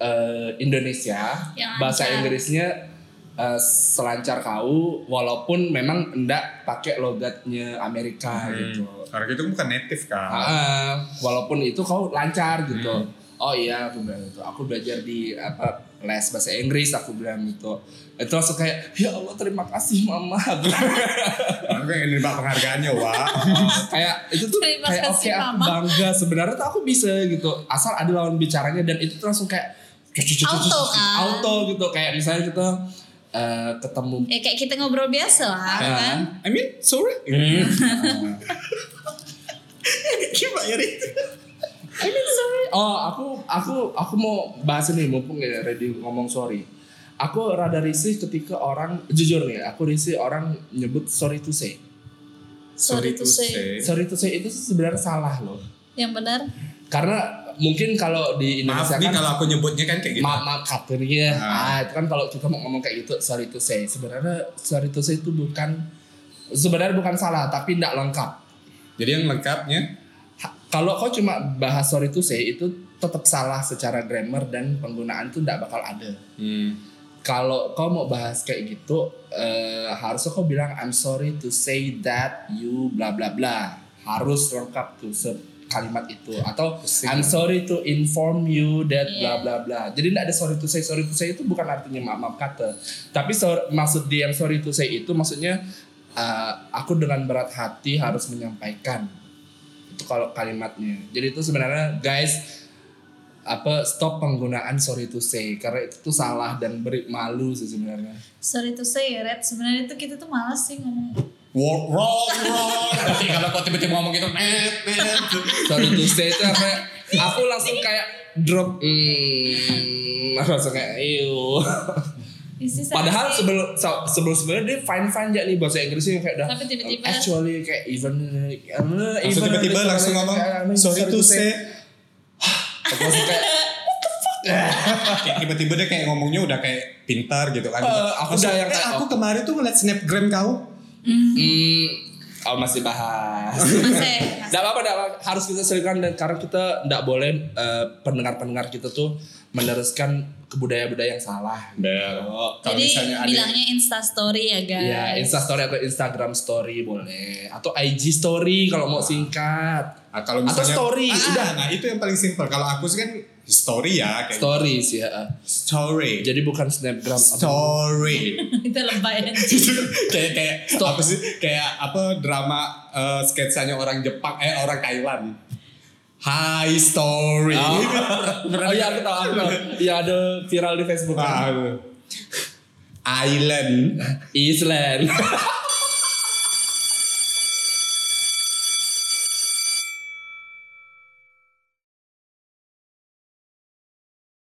[SPEAKER 3] eh, Indonesia
[SPEAKER 2] Yang
[SPEAKER 3] bahasa
[SPEAKER 2] lancar.
[SPEAKER 3] Inggrisnya eh, selancar kau, walaupun memang enggak pakai logatnya Amerika
[SPEAKER 1] Hmm.
[SPEAKER 3] gitu.
[SPEAKER 1] Nah, Karena itu bukan native kan.
[SPEAKER 3] Ah, walaupun itu kau lancar gitu. Oh iya, aku bilang gitu. Aku belajar di apa les bahasa Inggris, aku bilang gitu. Itu langsung kayak, ya Allah terima kasih mama. Aku bilang,
[SPEAKER 1] Karena kan ini bak penghargaannya, Wak.
[SPEAKER 3] kayak itu tuh
[SPEAKER 2] Terima
[SPEAKER 3] kayak oke
[SPEAKER 2] kasih,
[SPEAKER 3] aku
[SPEAKER 2] Mama.
[SPEAKER 3] bangga sebenarnya tuh aku bisa gitu asal ada lawan bicaranya dan itu tuh langsung kayak
[SPEAKER 2] Auto, kan?
[SPEAKER 3] auto gitu kayak misalnya kita eh, ketemu
[SPEAKER 2] Ya kayak kita ngobrol biasa lah kan.
[SPEAKER 1] I mean, sorry. Gimana ya, Rit?
[SPEAKER 3] oh aku aku aku mau bahas ini mumpung ya ready ngomong sorry aku rada risih ketika orang jujur nih aku risih orang nyebut sorry to say
[SPEAKER 2] Sorry to say.
[SPEAKER 3] sorry to say itu sebenarnya salah loh
[SPEAKER 2] Yang benar.
[SPEAKER 3] karena mungkin kalau di
[SPEAKER 1] Maaf
[SPEAKER 3] Indonesia
[SPEAKER 1] nih
[SPEAKER 3] kan
[SPEAKER 1] kalau aku nyebutnya kan kayak gitu.
[SPEAKER 3] Maaf, maaf katanya.
[SPEAKER 1] Ah.
[SPEAKER 3] Ah, itu kan kalau kita mau ngomong kayak gitu, sorry to say. Sebenarnya sorry to say itu bukan sebenarnya bukan salah, tapi tidak lengkap.
[SPEAKER 1] Jadi yang lengkapnya,
[SPEAKER 3] Ha- Kalau kau cuma bahas sorry to say itu tetap salah secara grammar dan penggunaan itu tidak bakal ada.
[SPEAKER 1] hmm,
[SPEAKER 3] Kalau kau mau bahas kayak gitu, eh, harusnya kau bilang I'm sorry to say that you bla bla bla. Harus lengkap tuh se- kalimat itu atau I'm sorry to inform you that
[SPEAKER 2] Iya.
[SPEAKER 3] bla bla bla. Jadi tidak ada sorry to say, sorry to say itu bukan artinya maaf maaf kata. Tapi sor- maksud dia yang sorry to say itu maksudnya uh, aku dengan berat hati harus menyampaikan itu kalau kalimatnya. Jadi itu sebenarnya guys apa stop penggunaan sorry to say karena itu tuh salah dan beri malu sih sebenarnya.
[SPEAKER 2] Sorry to say ya Red. Sebenarnya tuh kita tuh malas sih ngomong.
[SPEAKER 1] wrong, wrong, wrong. Tapi kalau kau tiba-tiba ngomong gitu, eh, eh,
[SPEAKER 3] Sorry to say itu apa? ya? Aku langsung kayak drop, hmm, langsung kayak iu.
[SPEAKER 2] This is
[SPEAKER 3] Padahal
[SPEAKER 2] actually-
[SPEAKER 3] sebelum so- sebelum sebelumnya dia fine fine aja nih bahasa Inggrisnya kayak udah "Oh,
[SPEAKER 2] Tapi tiba-tiba-
[SPEAKER 3] actually kayak even uh,
[SPEAKER 1] Langsung tiba-tiba langsung ngomong sorry to say.
[SPEAKER 3] Aku langsung kayak
[SPEAKER 1] Kayak Tiba-tiba dia kayak ngomongnya udah kayak pintar gitu kan.
[SPEAKER 3] Eh, aku
[SPEAKER 1] Maksudnya,
[SPEAKER 3] udah yang
[SPEAKER 1] eh,
[SPEAKER 3] kayak,
[SPEAKER 1] aku
[SPEAKER 3] oh.
[SPEAKER 1] kemarin tuh ngeliat snapgram kau.
[SPEAKER 3] hmm, oh masih bahas.
[SPEAKER 2] Masih.
[SPEAKER 3] Tidak apa-apa, nggak apa-apa. harus kita selipkan dan karena kita tidak boleh eh, pendengar-pendengar kita tuh meneruskan kebudayaan-budaya yang salah.
[SPEAKER 1] Nah, kalau
[SPEAKER 2] Jadi
[SPEAKER 1] misalnya ada
[SPEAKER 2] bilangnya Insta story ya guys.
[SPEAKER 3] Ya, Insta story atau Instagram story boleh atau IG story kalau mau singkat.
[SPEAKER 1] Ah, kalau
[SPEAKER 3] Atau
[SPEAKER 1] misalnya
[SPEAKER 3] story,
[SPEAKER 1] Ah,
[SPEAKER 3] udah.
[SPEAKER 1] Nah, itu yang paling simpel. Kalau aku sih kan story ya kayak
[SPEAKER 3] Story sih ya.
[SPEAKER 1] story.
[SPEAKER 3] Jadi bukan snapgram. apa-
[SPEAKER 1] story.
[SPEAKER 2] itu lebay anjing.
[SPEAKER 1] Itu kayak kayak apa sih kayak apa drama eh, sketsanya orang Jepang eh orang Thailand. Hi story.
[SPEAKER 3] Oh, oh iya aku tahu aku tahu. Iya ada kan. viral di Facebook.
[SPEAKER 1] Ah, Island.
[SPEAKER 3] Island.